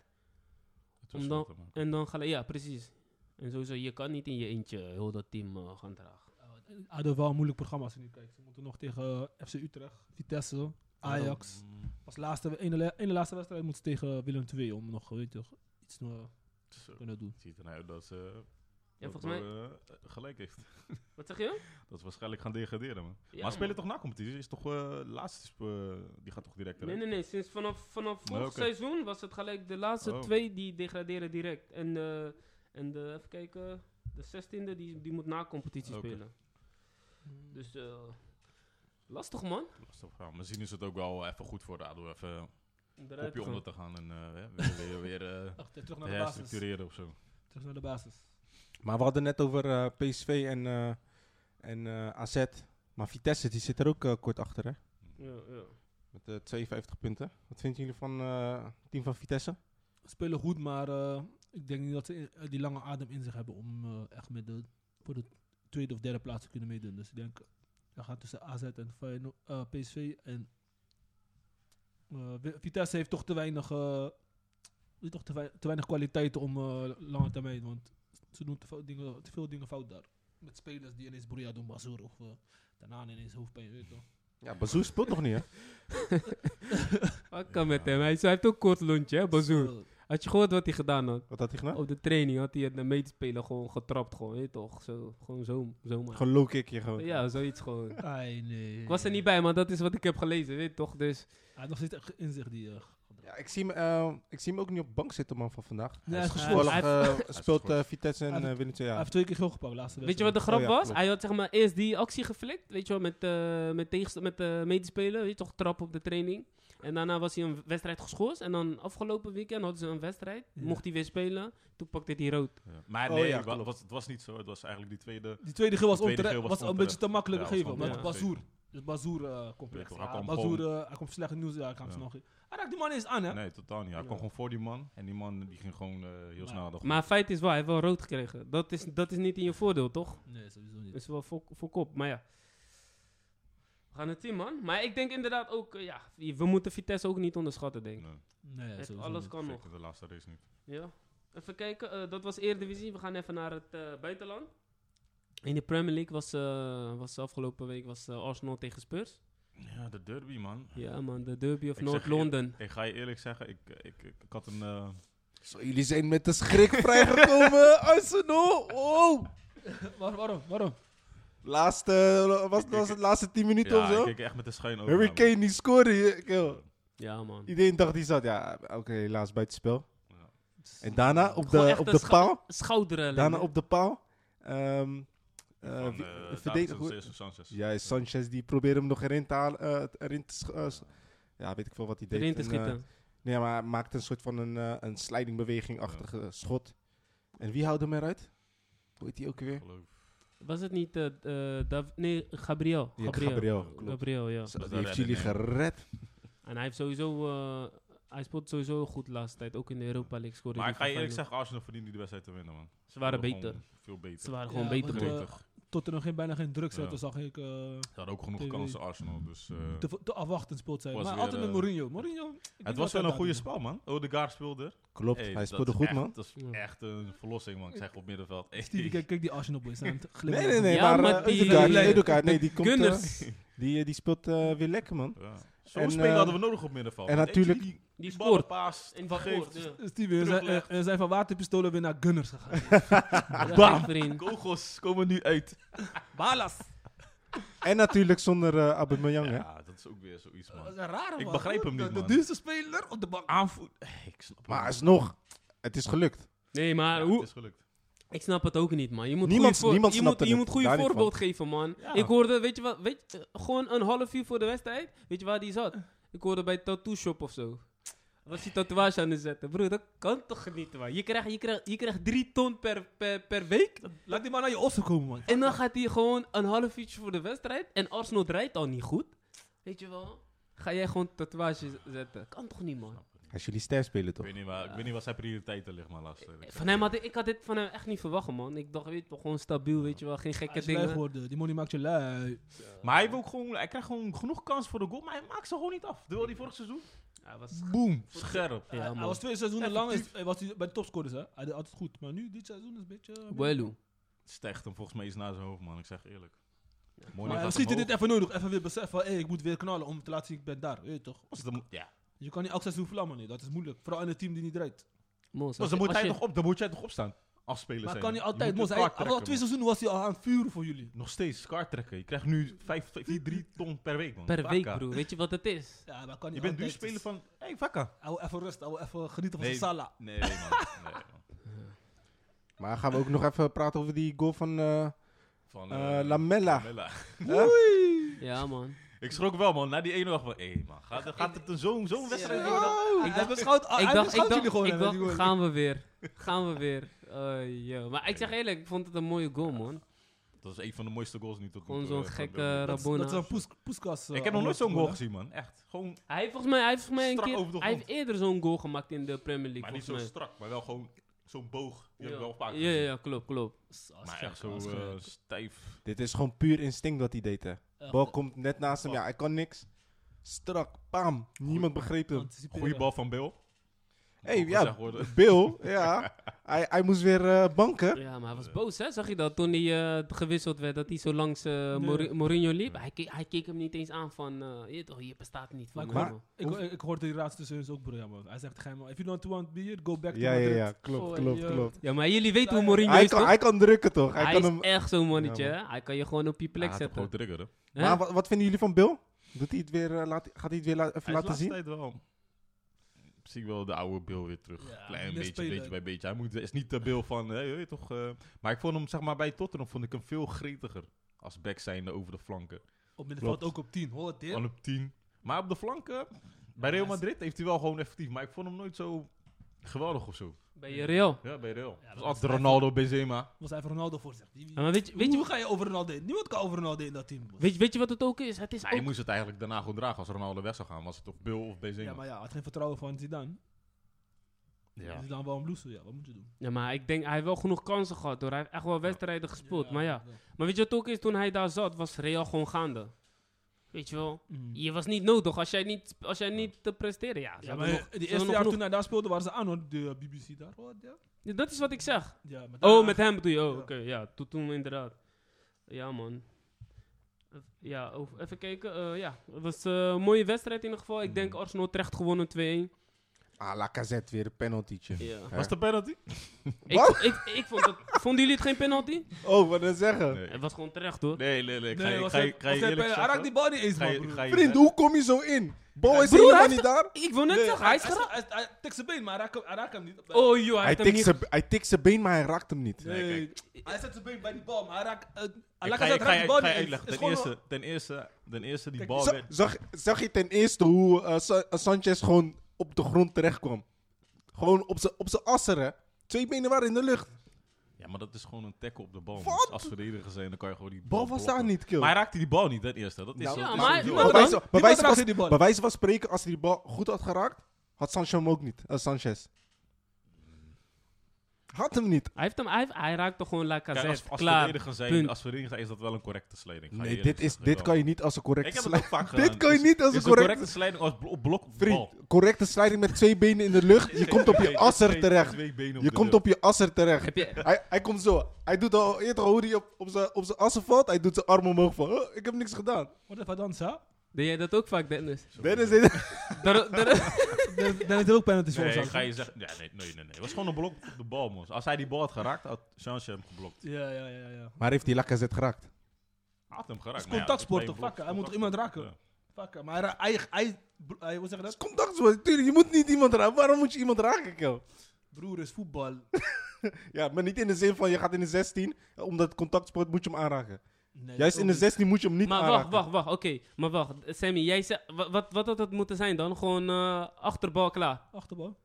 Het was Om dan- wel te maken. En dan gelijk... Ja, precies. En sowieso, je kan niet in je eentje heel dat team eh, gaan dragen. Eh, Ado wel een moeilijk programma als je nu kijkt. Ze moeten nog tegen eh, FC Utrecht, Vitesse, Ajax. Mm, Pas laatste, ene, la- ene laatste wedstrijd moeten ze tegen Willem II om nog weet je, toch, iets te zo. kunnen doen. Het ziet er nou uit dat ze... Ja, dat volgens mij... Bo, eh, gelijk heeft. Wat zeg je? Dat ze waarschijnlijk gaan degraderen, man. Ja, maar spelen man. toch na competitie? Is toch eh laatste... sp- eh, die gaat toch direct Nee, eruit? nee, nee. Sinds vanaf, vanaf vorig oké. seizoen was het gelijk de laatste Oh. twee die degraderen direct. En, eh en de, even kijken, De 16e die, die moet na competitie Oké. spelen. Dus eh, lastig man. Lastig verhaal. Misschien is dus het ook wel even goed voor de ADO even een Eruit kopje gaan. onder te gaan en eh, hè, weer, weer, weer eh, Ach, terug naar de basis. Terug herstructureren of zo. naar de basis. Maar we hadden net over eh, PSV en, eh, en eh, AZ. Maar Vitesse die zit er ook eh, kort achter, hè? Ja, ja. Met eh, 52 punten. Wat vinden jullie van eh, het team van Vitesse? Spelen goed, maar eh, ik denk niet dat ze eh, die lange adem in zich hebben om eh, echt met de, voor de tweede of derde plaats te kunnen meedoen. Dus ik denk, dat gaat tussen AZ en Feyeno- eh, PSV. En eh, Wi- Vitesse heeft toch te weinig, eh, heeft toch te, wei- te weinig kwaliteit om eh, lange termijn. Want ze doen te veel dingen, te veel dingen fout daar. Met spelers die ineens Boeria doen, Bazoer of eh, daarna ineens hoofdpijn. Weet je, toch? Ja, Bazoer speelt nog niet, hè? Wat kan met hem? Hij, hij heeft ook kort lontje, hè, Bazoer. Zo, Had je gehoord wat hij gedaan had? Wat had hij gedaan? Op de training had hij het naar mee te spelen gewoon getrapt, gewoon, weet je toch? Zo, gewoon zo, zomaar. Gewoon low kickje gewoon. ja, zoiets gewoon. ai, nee. Ik was er niet bij, maar dat is wat ik heb gelezen, weet je toch? Dus Hij heeft nog steeds echt in zich die... eh, Ja, ik, zie hem, eh, ik zie hem ook niet op bank zitten, man, van vandaag. hij is geschorst. Toevallig Hij eh, speelt geschorst. eh, Vitesse en Hij eh Willem II, Hij ja. heeft twee keer geel gepakt, laatste Weet je wat de wedstrijd. grap Oh ja, was? klopt. Hij had zeg maar eerst die actie geflikt, weet je wel, met, eh met, tegenst- met eh mee te spelen, weet je toch, trap op de training. En daarna was hij een wedstrijd geschorst en dan afgelopen weekend hadden ze een wedstrijd, Ja. mocht hij weer spelen, toen pakte hij rood. Ja. Maar Oh nee, ja, wa- klopt. was, het was niet zo. Het was eigenlijk die tweede... Die tweede geel was, Die tweede ontere- geel was was, een onterecht. beetje te makkelijk Ja, gegeven. was Maar onterecht. Bazoer. Dus Bazoer eh complex. Ja, Ja, hij kwam Bazoer, gewoon- eh, hij komt slecht nieuws. Ja, hij kan Ja. ze nog. Hij raakt die man eens aan, hè? Nee, totaal niet. Hij kwam Ja. gewoon voor die man. En die man die ging gewoon eh, heel Maar- snel naar de Maar feit is wel, hij heeft wel rood gekregen. Dat is, dat is niet in je voordeel, toch? Nee, sowieso niet. Dat is wel voor, voor kop, maar ja. We gaan het zien, man. Maar ik denk inderdaad ook, eh, ja, we moeten Vitesse ook niet onderschatten, denk ik. Nee, Nee, Het- sowieso alles niet. kan nog. zeker de laatste race niet. Ja. Even kijken, eh, dat was Eredivisie. We gaan even naar het eh, buitenland. In de Premier League was, eh, was afgelopen week was, eh, Arsenal tegen Spurs. Ja, de derby, man. Ja man, de derby of Ik zeg Noord-London. Ik ga je eerlijk zeggen, ik, ik, ik, ik had een... eh, Zo, jullie zijn met de schrik vrijgekomen, Arsenal! Oh! Waar- waarom? Waarom? Laatste, was, Ik- was het laatste 10 minuten ja, of zo? ik keek echt met de schuin over. Harry Kane die scoorde. je- Yo. Ja man. Iedereen dacht die zat, ja, oké, helaas buitenspel. En daarna op Gewoon de, echt op een de scha- paal. Schouderen. alleen, Daarna hè? op de paal. ehm eh, Van, eh, wie- de Davinson verdediger. Sanchez- Sanchez. Ja, Sanchez die probeerde hem nog erin te halen. eh, erin te sch- eh, s- ja, weet ik veel wat hij deed. erin te En, eh, schieten. nee, maar hij maakte een soort van een, eh, een slidingbeweging-achtige schot. En wie houdt hem eruit? Hoe heet hij ook weer? Geloof. Was het niet... eh, eh, Dav- nee, Gabriel. Ja, Gabriel. Gabriel, klopt. Gabriel, ja. Zo, Dat die heeft redden, jullie nee. gered. En hij heeft sowieso... eh, hij speelt sowieso goed de laatste tijd. Ook in de Europa League scoorde Maar hij ik ga je voor eerlijk Feyenoord. zeggen, Arsenal verdiende die wedstrijd te winnen, man. Ze waren Gewoon beter. Veel beter. Ze waren gewoon Ja, beter. want, man. eh, Beter. Tot er nog geen, bijna geen druk Ja. zetten, zag ik. eh, Ze hadden ook genoeg TV. kansen, Arsenal. Dus, eh, te, v- te afwachtend speelt zijn. Was Maar weer, altijd met eh, Mourinho. Mourinho. het was wel een goede spel, man. Odegaard speelde. Klopt, Hey, hij dat speelde is goed, echt- man. Dat is Ja. echt een verlossing, man. Ik zeg op middenveld. Hey. Stevie, kijk, kijk die Arsenal boys aan. het Nee, glimlachen. nee, nee, Ja, maar, maar eh, die- Ødegaard, die- nee, Ødegaard, nee, die komt... eh, Gunners. die, eh, die speelt eh, weer lekker, man. Ja. Zo'n En, speler eh, hadden we nodig op middenveld. en man. natuurlijk- Eentje die, Die ballen scoort. paast, En die geeft. dus scoort, ja. Stevie, we zijn, Teruglegt. eh, we zijn van waterpistolen weer naar Gunners gegaan. Ja, vriend. Kogels komen nu uit. Balas. En natuurlijk zonder eh Aubameyang, hè. Ja, dat is ook weer zoiets, Dat is man. een rare Ik man. begrijp hem De- niet, De man. duurste speler op de bank. Aanvoer. Hey, ik snap het Maar niet. alsnog, het is gelukt. Nee, maar Ja, hoe, Het is gelukt. Ik snap het ook niet, man. Je moet Niemand- goede voor- niemand je snapt moet, je het, moet goede daar niet voorbeeld geven, man. Ja. Ik hoorde, weet je wat, weet je, eh, gewoon een half uur voor de wedstrijd, weet je waar die zat? Ik hoorde bij Tattoo Shop of zo. Was die tatoeage aan het zetten? Broer, dat kan toch niet, man? Je krijgt, je krijgt, je krijgt drie ton per, per, per week. Laat die man naar je ossen komen, man. En dan gaat hij gewoon een half uurtje voor de wedstrijd. En Arsenal draait al niet goed. Weet je wel? Ga jij gewoon tatoeage z- zetten? Kan toch niet, man? Als jullie ster spelen, Ik toch? weet, niet waar, ik Ja. weet niet wat zijn prioriteiten liggen, maar laatst. eh, ik- Van hem had ik, ik had dit van hem echt niet verwacht, man. Ik dacht, weet je wel, gewoon stabiel, weet je wel. Geen Hij gekke is lui dingen. geworden. eh, Die money maakt je lui. Maar hij, heeft ook gewoon, hij krijgt gewoon genoeg kans voor de goal, maar hij maakt ze gewoon niet af. Terwijl die vorig seizoen. Hij was Boom. Scherp. Ja, hij, hij man. was twee seizoenen Effectief. lang is, hij was hij bij de topscorers. Hè? Hij deed altijd goed. Maar nu, dit seizoen is een beetje... eh, Welu. Het stijgt hem volgens mij iets naar zijn hoofd, man. Ik zeg eerlijk. Mooi Maar misschien is dit even nodig. Even weer beseffen van, hey, ik moet weer knallen om te laten zien ik ben daar. Weet je toch? Ja. Je kan niet elk seizoen vlammen. Nee. Dat is moeilijk. Vooral in een team die niet rijdt. Mons, Dus als dan, je- moet als hij je- toch op, dan moet jij toch opstaan. Afspelen Maar zijn. kan niet altijd. moet Moes, een hij, kaart al trekken, twee seizoenen was hij al aan het vuren voor jullie. man. Nog steeds kaart trekken. Je krijgt nu 5, 4, 3 ton per week, man. Per Vakka. week, bro. Weet je wat het is? Ja, maar kan Je niet bent nu altijd. speler van. Hé, hey, vakka. Hij wil even rust. Hij wil even genieten van Nee. zijn sala. Nee, man. Nee, man. Maar gaan we ook nog even praten over die goal van... eh, Van, Eh, eh, Lamella. Huh? Ja, man. Ik schrok wel, man. Na die ene dag van, hé, man, gaat, gaat het een zo'n zo'n wedstrijd worden? Ik Hij dacht- beschouwt Ah, ik hij dacht, ik beschouwt jullie dacht, gewoon. ik hè, met dacht die goal. gaan we weer. Gaan we weer. Eh, yo. Maar ik zeg eerlijk, ik vond het een mooie goal, man. Dat is een van de mooiste goals niet tot nu Gewoon toe, zo'n eh, van gekke Liverpool. Dat is- Dat is Rabona. een poes- poeskas. eh, Ik heb nog nooit zo'n goal antwoord, hè. gezien, man. Echt. Gewoon, Hij heeft volgens mij, hij heeft volgens mij Strak een over de keer, hij heeft grond. eerder zo'n goal gemaakt in de Premier League, maar niet zo volgens mij. strak, maar wel gewoon zo'n boog. Die heb Ja. ik wel vaak Ja, gezien. ja, ja, klopt, klopt. Maar echt zo Als eh, gek. stijf. Dit is gewoon puur instinct dat hij deed, hè. Echt, Bal eh, komt net naast hem. Ja, hij kan niks. Strak. Bam. Niemand begreep hem. anticiperen. Goeie bal van Bill. hey, ja, Worden. Bill. ja. Hij, hij moest weer eh, banken. Ja, maar hij was boos, hè? Zag je dat toen hij eh, gewisseld werd, dat hij zo langs eh, Nee. Mori- Mourinho liep? Nee. Hij, keek, hij keek hem niet eens aan van, eh, je, toch, je bestaat niet van Maar mij, ik- man. Ik, ik hoorde die raad tussen ons ook, broer. ja, man. Hij zegt geheim, if you don't want beer, go back to Ja, ja, Madrid. ja. Klopt, Oh, klopt, ja. klopt. Ja, maar jullie weten hoe Ja, Mourinho Hij is, kan, toch? hij kan drukken, toch? Hij, Hij kan is hem... echt zo'n mannetje, Ja, man. hè? Hij kan je gewoon op je Hij plek had hem zetten. gewoon triggeren. Hè? Maar wat, wat vinden jullie van Bill? Doet hij het weer, eh, laat, gaat hij het weer la- even Hij is laten laatste zien? tijd wel. Zie ik wel de oude Bill weer terug. Ja, Klein meer beetje, spelen. beetje bij beetje. Hij moet, is niet de Bill van, hè, je weet toch. eh, maar ik vond hem, zeg maar, bij Tottenham vond ik hem veel gretiger. Als back zijnde over de flanken. Op middenveld Klopt. ook op 10. Hoor dit? Van op 10. Maar op de flanken, bij Real hij is- Madrid heeft hij wel gewoon effectief. Maar ik vond hem nooit zo geweldig of zo. Bij je Real. Ja, bij Real. Ja, Dat was dat was altijd Ronaldo, Benzema. Was hij voor Ronaldo voor zich. Die- Ja, maar weet, je- weet, hoe je, ga je over Ronaldo heen? Niemand kan over Ronaldo in dat team. boys. weet, je- weet je wat het ook is? Het is Hij ook... moest het eigenlijk daarna gewoon dragen als Ronaldo weg zou gaan. Was het of Bill of Benzema. ja, maar ja, hij had geen vertrouwen van Zidane. Ja. Zidane wel een blouse, ja, wat moet je doen? Ja, maar ik denk, hij heeft wel genoeg kansen gehad, hoor. Hij heeft echt wel wedstrijden gespeeld, maar ja. ja. Maar weet je wat ook is? Toen hij daar zat, was Real gewoon gaande. Weet je wel? Mm. Je was niet nodig als jij niet, als jij niet te presteren. Ja, ze Ja, hadden maar nog- ze die hadden eerste nog jaar genoeg. toen hij daar speelde, waren ze aan hoor, de eh, BBC daar. hoor, ja. Ja, dat is wat ik zeg. Ja, maar Oh, daarna- met hem bedoel je? Oh, Ja. oké. ja, to- toen inderdaad. Ja, man. Eh, Ja, over- even kijken. eh, ja, het was eh, een mooie wedstrijd in ieder geval. Ik denk Arsenal terecht gewonnen 2-1. Ah, Lacazette weer een penaltytje. Ja. Hè? Was de penalty? Ik, Wat? ik, ik vond het, vonden jullie het geen penalty? Oh, wat dan zeggen? Nee. Het was gewoon terecht hoor. Nee, nee, nee. Ik ga Nee, je- was ga je hij- ga je was hij eerlijk bij- Hij raakt die zeggen. bal niet eens, Ga man, je- broer. ga je- Vriend, hoe kom je zo in? Bal is Broer, helemaal hij niet daar. Ik wil net Nee, zeggen, hij is geraakt. Hij, hij tikt zijn been, maar hij raakt, hij raakt hem niet. op- Oh joh, hij Hij heeft hem tikt niet... zijn- Hij tikt zijn been, maar hij raakt hem niet. nee, Nee, hij zet zijn been bij die bal, maar hij raakt... eh, Hij Ik raakt ga je- hij ik ga je- raakt ik die bal ga niet je eens. uitleggen. Het is Ten gewoon eerste, ten eerste, ten eerste die Kijk, bal Za- werd... zag, zag je ten eerste hoe eh, Sa- eh, Sanchez gewoon op de grond terecht kwam? Gewoon op zijn op z'n asser, hè? Twee benen waren in de lucht. Ja, maar dat is gewoon een tackle op de bal. Wat? Als verdediger zijn, dan kan je gewoon die bal Bal was daar blokken. niet, kill. Maar hij raakte die bal niet, dat eerste. Dat is Nou, zo- Ja, dat is maar- zo duur. maar- bij dan? wijze, bij, wijze raakte van, die bal. bij wijze van spreken, als hij die bal goed had geraakt, had Sanchez hem ook niet. Eh, Sanchez. Had hem niet. Hij, heeft hem, hij, heeft- hij raakte gewoon Kijk, Lacazette. als, als, Klaar. verdediger zijn, Punt. als verdediger zijn is dat wel een correcte slijding. Ga je Nee, eerlijk dit, is, zeggen, dit wel. kan je niet als een Ik correcte heb het ook sliding. vaak gedaan. Dit kan je Dit is- niet als dit een is een correcte... correcte slijding als blo- op blok op Vriend, bal. correcte sliding met twee benen in de lucht. Je komt op je asser terecht. Je komt op je asser terecht. Heb je, Hij, hij komt zo. Hij doet al eerder hoe hij op, op zijn op zijn assen valt. Hij doet zijn arm omhoog van, "Oh, ik heb niks gedaan. Wat even dansen, deed jij dat ook vaak, Dennis? Dennis deed- Daar- daar- Dan is het ook penalty voor Nee, ik ons. ga je zeggen... Ja, nee, nee, nee, nee. Het was gewoon een blok op de bal, man. Als hij die bal had geraakt, had Sanchez hem geblokt. Ja, ja, ja, ja. Maar heeft hij Lacazette geraakt? Hij had hem geraakt. is maar ja, contactsport dat is bij toch? een blok- Fuck, hij moet toch iemand contactsport. raken? Ja. Fuck, hem, maar hij, ra- hij, hij, bro- hij, hoe zeg je Dat is dat? contact. zo. Tuurlijk, je moet niet iemand raken. Waarom moet je iemand raken, Kel? Broer is voetbal. Ja, maar niet in de zin van je gaat in de 16. Omdat het contactsport moet je hem aanraken. Nee, Juist ook in de niet. 16 moet je hem niet maar wacht, aanraken. wacht, wacht. Oké, maar wacht. Sammy, jij zei, wa- wat, wat had het moeten zijn dan? Gewoon eh, achterbal klaar. Achterbal.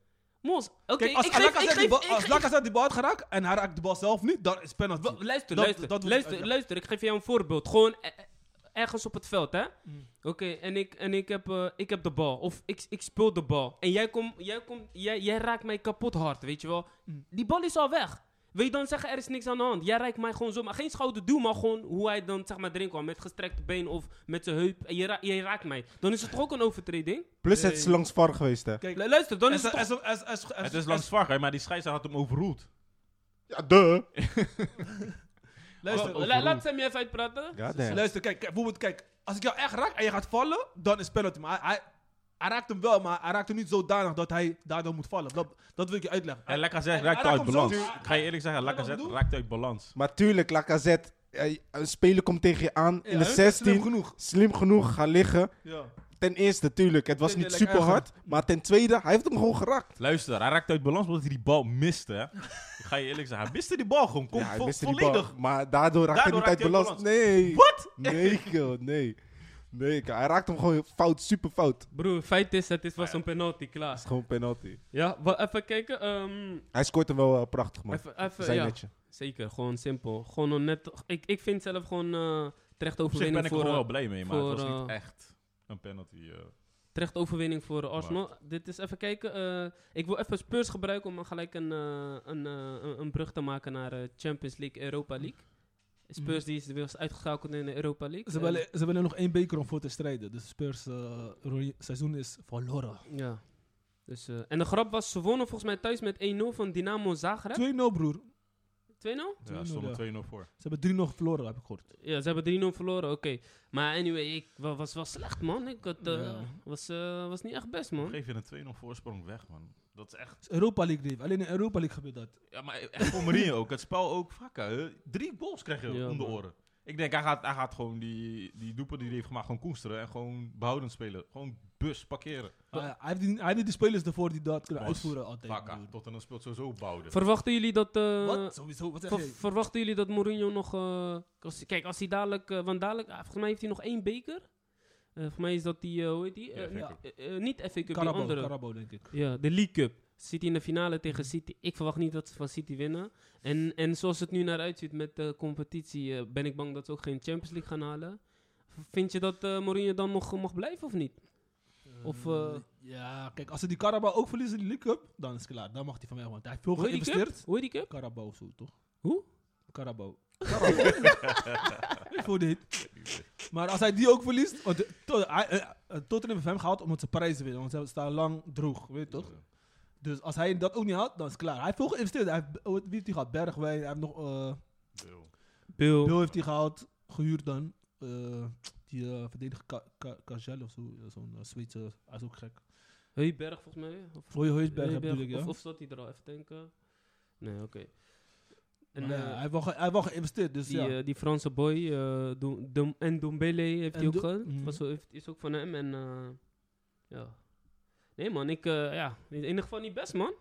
Mos, oké, Kijk, als ik geef, ik Lacazette die geef, bal- ik als geef- Lacazette die bal had geraakt en hij raakt de bal zelf niet, dan is penalty. Wa- Luister, Dat- luister, dat moet- luister, ja. luister. Ik geef jou een voorbeeld. Gewoon eh, eh, ergens op het veld, hè? Mm. Oké, en, ik, en ik, heb, eh, ik heb de bal. Of ik, ik speel de bal. En jij, komt, jij, komt, jij, jij raakt mij kapot hard, weet je wel? Mm. Die bal is al weg. Wil je dan zeggen, er is niks aan de hand? Jij raakt mij gewoon zo. Maar geen schouderduw, maar gewoon hoe hij dan zeg maar, erin kwam. Met gestrekte been of met zijn heup. En je, ra- je raakt mij. Dan is het toch ook een overtreding? Plus het Nee. is langs VAR geweest, hè? Kijk, Lu- Luister, dan is het S- toch... S- S- S- S- Het is langs Varga, maar die scheidsrechter had hem overroeld. Ja, duh. Luister, Oh, Wa- la- laat Sammy even uitpraten. Ja, S- damn. luister, kijk, kijk, bijvoorbeeld, kijk, als ik jou echt raak en je gaat vallen, dan is penalty. Maar hij, hij, hij raakt hem wel, maar hij raakt hem niet zodanig dat hij daardoor moet vallen. Dat, dat wil ik je uitleggen. En Lacazette Hij- raakt hij uit raakt hem balans. zo- Ik ga je eerlijk zeggen, Hij Lacazette raakt hem raakt uit balans. Maar tuurlijk, Lacazette. eh, Een speler komt tegen je aan Ja, in de hè? Dat is slim 16. genoeg. Slim genoeg, ga liggen. Ja. ten eerste, tuurlijk, het was Vind niet je lekker super hard. Maar ten tweede, hij heeft hem gewoon geraakt. Luister, hij raakte uit balans omdat hij die bal miste. Hè? Ik ga je eerlijk zeggen, hij miste die bal gewoon kom, ja, hij vo- miste die bal, volledig. maar daardoor raakte Daardoor hij niet raakte uit hij uit balans. Nee. Wat? Nee, kill, nee. Nee, kill. hij raakte hem gewoon fout, super fout. Het Broer, feit is, het is, was Maar ja. een penalty, klaar. is gewoon penalty. Ja, wa- even kijken. ehm, Hij scoort hem wel eh, prachtig, man. even, even, Zijn ja, netje. zeker, gewoon simpel. Gewoon een net, ik, ik vind zelf gewoon eh terecht Op zich ben overwinning ik er wel voor, eh, blij mee, maar het voor, was niet eh, echt een penalty. eh. terecht overwinning voor eh, Arsenal. Dit is even kijken. eh, ik wil even Spurs gebruiken om gelijk een, eh, een, eh, een, een brug te maken naar eh, Champions League, Europa League. Spurs die is weer eens uitgeschakeld in de Europa League. Mhm. Ze willen, ze willen nog één beker om voor te strijden. Dus Spurs eh, ro- seizoen is verloren. 2-0 En- eh, ja. Dus, eh, en de grap was, ze wonnen volgens mij thuis met 1-0 van Dynamo Zagreb. 2-0? broer. ja, 2-0, ja. stond er 2-0 voor. Ze hebben 3-0 verloren, heb ik gehoord. Ja, ze hebben 3-0 verloren, oké. Maar anyway, ik wa- was wel slecht, man. Ik had, eh, Ja. was, eh, was niet echt best, Hm? man. Geef je een 2-0 voorsprong weg, man. Dat is echt... Het is Europa League, Dave. Alleen in Europa League gebeurt dat. Ja, maar echt voor Mourinho ook. Het spel ook. Fuck, hè. drie goals krijg je Ja, om de man. oren. Ik denk, hij gaat, hij gaat gewoon die, die doepen die hij heeft gemaakt gewoon koesteren. En gewoon behoudend spelen. Gewoon bus parkeren. Maar ja, Eh, hij, heeft die, hij heeft die spelers ervoor die dat kunnen Bas, uitvoeren altijd. Vaca, broer. tot en dan speelt sowieso behouden. Verwachten jullie dat... eh, Wat? Sowieso, wat zeg ver- je? verwachten jullie dat Mourinho nog... eh, als- kijk, als hij dadelijk... eh, want dadelijk, ah, volgens mij heeft hij nog één beker. Eh, volgens mij is dat die... eh, hoe heet die? Ja, Eh, vind ik ja. ook. eh, eh, niet FA Cup, die Carabao, andere. Carabao, denk ik. Ja, de League Cup. City in de finale tegen City. Ik verwacht niet dat ze van City winnen. En, en zoals het nu naar uitziet met de competitie, eh, ben ik bang dat ze ook geen Champions League gaan halen. V- Vind je dat eh Mourinho dan nog eh, mag blijven of niet? Of, Eh, eh, ja, kijk, als ze die Carabao ook verliezen, die League Cup, dan is het klaar. Dan mag hij van mij, want hij heeft veel Hoe heet die geïnvesteerd. Hoe heet die cup? Carabao of zo, toch? Hoe? Carabao. Voor dit. Maar als hij die ook verliest, want de- to- hij- eh, eh, Tottenham heeft hem gehaald omdat ze prijzen winnen, want ze staan lang droog, weet je toch? Dus als hij dat ook niet haalt, dan is het klaar. Hij heeft veel geïnvesteerd. Hij heeft, oh, wie heeft hij gehad? Bergwijn, hij heeft nog... eh Veel. Bill. Bill heeft hij gehaald, gehuurd dan. Eh, die eh, verdediger Ka- Ka- Kajel of zo, eh, zo'n eh, Zweedse, hij is ook gek. Heuberg volgens mij. Of, Roy Heusberg Heuberg, bedoel ik, ja. of, of zat hij er al? Even denken. Nee, oké. En Maar ja, eh, hij, heeft wel ge- hij heeft wel geïnvesteerd, dus die, ja. eh, die Franse boy, eh, Dom- Dom- en Dombele heeft En hij ook Do- gehad. Mhm. Was, heeft- is ook van hem en eh, ja. Nee man, ik, eh, ja, in ieder geval niet best man.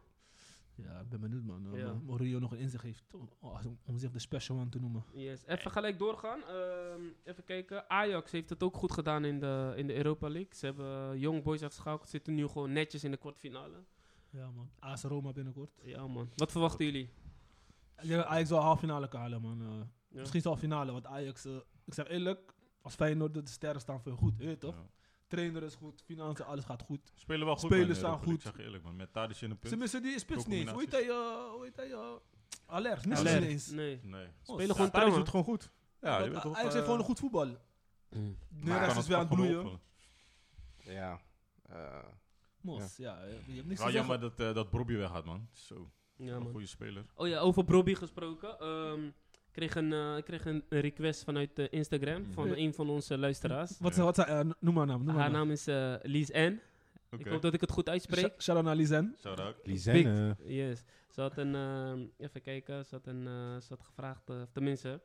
Ja, ik ben benieuwd man. Eh, Ja. maar Mourinho nog een inzicht heeft. Om, om- om zich de special one te noemen. Yes. Even gelijk doorgaan. Ehm, even kijken. Ajax heeft het ook goed gedaan in de, in de Europa League. Ze hebben eh, Young Boys afgeschakeld. Zitten nu gewoon netjes in de kwartfinale. Ja man. AS Roma binnenkort. Ja, man. Wat verwachten jullie? Ik denk dat Ajax wel half finale kan halen man. Eh, Ja. Misschien zelf finale, want Ajax... eh, ik zeg eerlijk, als Feyenoord de sterren staan voor je goed. Weet je toch? Ja. Trainer is goed, financiën, alles gaat goed. Spelen wel goed. Spelers man, in staan Europa League, goed. Ik zeg eerlijk, man. Met Tadic in de Ze punt. missen die spits Veel niet eens. Hoe heet hij? eh, hoe heet hij? eh, Alert. Missen ze Alert. niet eens. Nee. Nee. Spelen Ja, gewoon Tadic trouwen. doet gewoon goed. Ja, je Want bent toch... Ajax heeft gewoon een goed voetbal. De rest is weer wel aan het bloeien. Ja. eh, Mos, ja. eh, Je hebt niks Wel te zeggen. jammer dat, eh, dat Brobby weggaat, man. Zo, Ja, een man. goede speler. Oh ja, over Brobby gesproken. Ehm, ik kreeg een, eh, ik kreeg een een request vanuit eh, Instagram van Mhm. een van onze luisteraars. Wat, zijn- wat, zijn- eh, noem maar naam. Noem Haar maar naam. naam is eh Lies N. Ik Oké, hoop dat ik het goed uitspreek. Sh- Shout-out naar Lizen. shout-out. die Big- zijn... eh, Yes. Ze had een, ehm, even kijken, ze had, een, eh, ze had gevraagd, eh, of tenminste,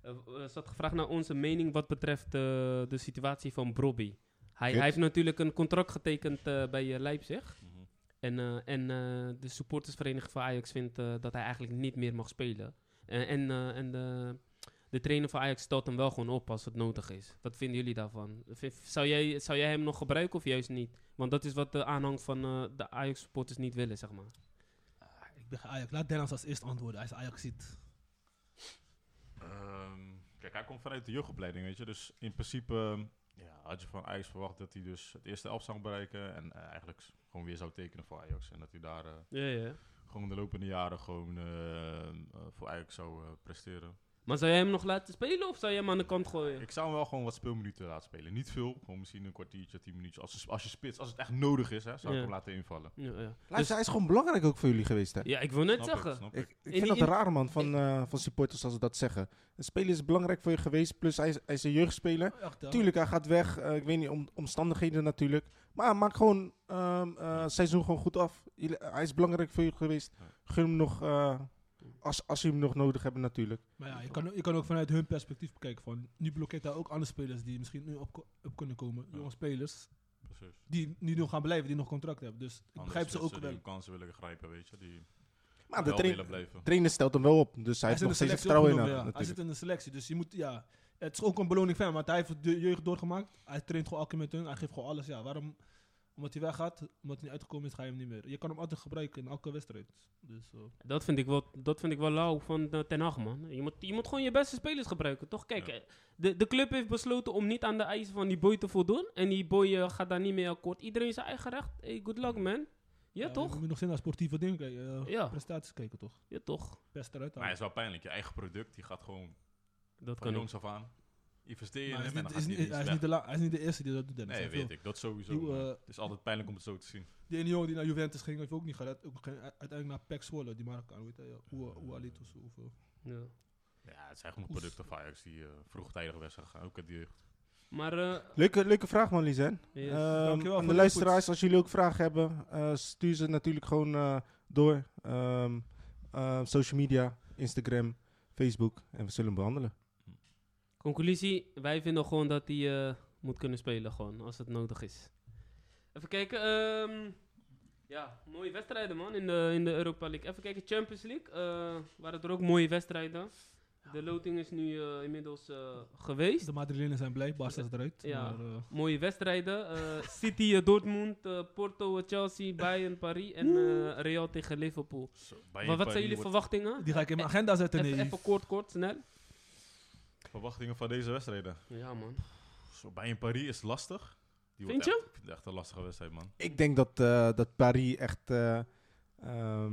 eh, w- eh, ze had gevraagd naar onze mening wat betreft eh, de situatie van Brobby. Hij, Kut. hij heeft natuurlijk een contract getekend eh, bij eh, Leipzig. Mhm. En, eh, en eh, de supportersvereniging van Ajax vindt eh, dat hij eigenlijk niet meer mag spelen. En, en, eh, en de, de trainer van Ajax stelt hem wel gewoon op als het nodig is. Wat vinden jullie daarvan? V- Zou jij, zou jij hem nog gebruiken of juist niet? Want dat is wat de aanhang van eh, de Ajax supporters niet willen, zeg maar. Ah, Ik ben geen Ajax. Laat Dennis als eerst antwoorden. Hij is Ajax ziet. Ehm, kijk, hij komt vanuit de jeugdopleiding, weet je. Dus in principe ehm, ja, had je van Ajax verwacht dat hij dus het eerste elf zou bereiken. En eh, eigenlijk s- gewoon weer zou tekenen voor Ajax. En dat hij daar eh, Ja, ja. gewoon de lopende jaren gewoon eh, eh, voor Ajax zou eh, presteren. Maar zou jij hem nog laten spelen of zou jij hem aan de kant gooien? Ik zou hem wel gewoon wat speelminuten laten spelen. Niet veel, gewoon misschien een kwartiertje, tien minuutjes. Als, je- als je spits, als het echt nodig is, hè, zou Ja. ik hem laten invallen. Ja, ja. Luister, hij is gewoon belangrijk ook voor jullie geweest, hè? Dus- ja, ik wil net Snap zeggen. ik, snap ik. Ik, In- ik vind dat in- raar, man, van, eh, van supporters als ze dat zeggen. Een speler is belangrijk voor je geweest, plus hij is, hij is een jeugdspeler. Echt, ja. Tuurlijk, hij gaat weg. eh, ik weet niet, om, omstandigheden natuurlijk. Maar maak gewoon ehm, eh, het seizoen gewoon goed af. Jullie- hij is belangrijk voor je geweest. Gun hem nog, eh, als, als je hem nog nodig hebben natuurlijk. Maar ja, je kan, je kan ook vanuit hun perspectief bekijken. Van, nu blokkeert hij ook andere spelers die misschien nu op, ko- op kunnen komen. Jonge spelers. spelers. Die, die nog gaan blijven, die nog contract hebben. Dus ik begrijp ze ook wel. Die kansen willen grijpen, weet je. Die Maar de wel train- willen blijven. trainer stelt hem wel op, dus hij, Hij heeft zit in nog de steeds selectie vertrouwen in hem. opgenomen, ja. Hij zit natuurlijk. in de selectie, dus je moet, ja. Het is ook een beloning van hem, want hij heeft de jeugd doorgemaakt. Hij traint gewoon elke keer met hun, hij geeft gewoon alles. Ja, waarom? Omdat hij weggaat, omdat hij niet uitgekomen is, ga je hem niet meer. Je kan hem altijd gebruiken in elke wedstrijd. Dus, eh, Dat vind ik wel, dat vind ik wel lauw van eh, Ten Hag, man. Je moet, je moet gewoon je beste spelers gebruiken, toch? Kijk, Ja. eh, de, de club heeft besloten om niet aan de eisen van die boy te voldoen. En die boy eh, gaat daar niet mee akkoord. Iedereen zijn eigen recht. Hey, good luck, man. Ja, Eh, Je toch? moet nog steeds naar sportieve dingen kijken. eh, Ja. Prestaties kijken, toch? Ja, toch? Best eruit Maar hij halen. is wel pijnlijk. Je eigen product, die gaat gewoon Dat van kan ook. jongs af aan. Investeer je in Maar hem en dan is gaat niet- hij is- Hij is niet niet de la- hij is niet de eerste die dat doet, Dennis. Nee, Hij heeft weet ik. Dat sowieso. veel. Die, maar eh, Het is altijd pijnlijk om het zo te zien. Die ene jongen die naar Juventus ging, heeft ook niet gered. Ook geen, uiteindelijk naar PEC Zwolle, die Marokkaan, weet je. ja. Oua- Oualit of zo. of, eh. Ja. Ja, het zijn genoeg Oef. producten van Ajax die eh, vroegtijdig weg zijn gegaan. Ook uit de jeugd. Maar, eh, Leuke, leuke vraag, man, Lizen. yes. Ehm, Dankjewel aan voor de de luisteraars, inputs. als jullie ook vragen hebben, eh, stuur ze natuurlijk gewoon eh, door. Ehm, eh, social media, Instagram, Facebook. En we zullen hem behandelen. Conclusie, wij vinden gewoon dat hij eh, moet kunnen spelen, gewoon, als het nodig is. Even kijken, ehm, ja, mooie wedstrijden man, in de, in de Europa League. Even kijken, Champions League, eh, waren er ook mooie wedstrijden. De loting is nu eh, inmiddels eh, geweest. Dus De Madrilenen zijn blij, Barca is eruit. Ja. Maar, eh, Mooie wedstrijden, eh, City, eh, Dortmund, eh, Porto, eh, Chelsea, Bayern, Paris en eh, Real tegen Liverpool. Zo, bij Maar wat Paris zijn jullie wordt- verwachtingen? die ga ik in mijn agenda zetten. eh, Even, Nee. even kort, kort, snel. verwachtingen van deze wedstrijden? Ja man. Zo, bij een Paris is lastig. Die Vind wordt je? Echt, ik vind het echt een lastige wedstrijd, man. Ik denk dat, eh, dat Paris echt... eh, ehm,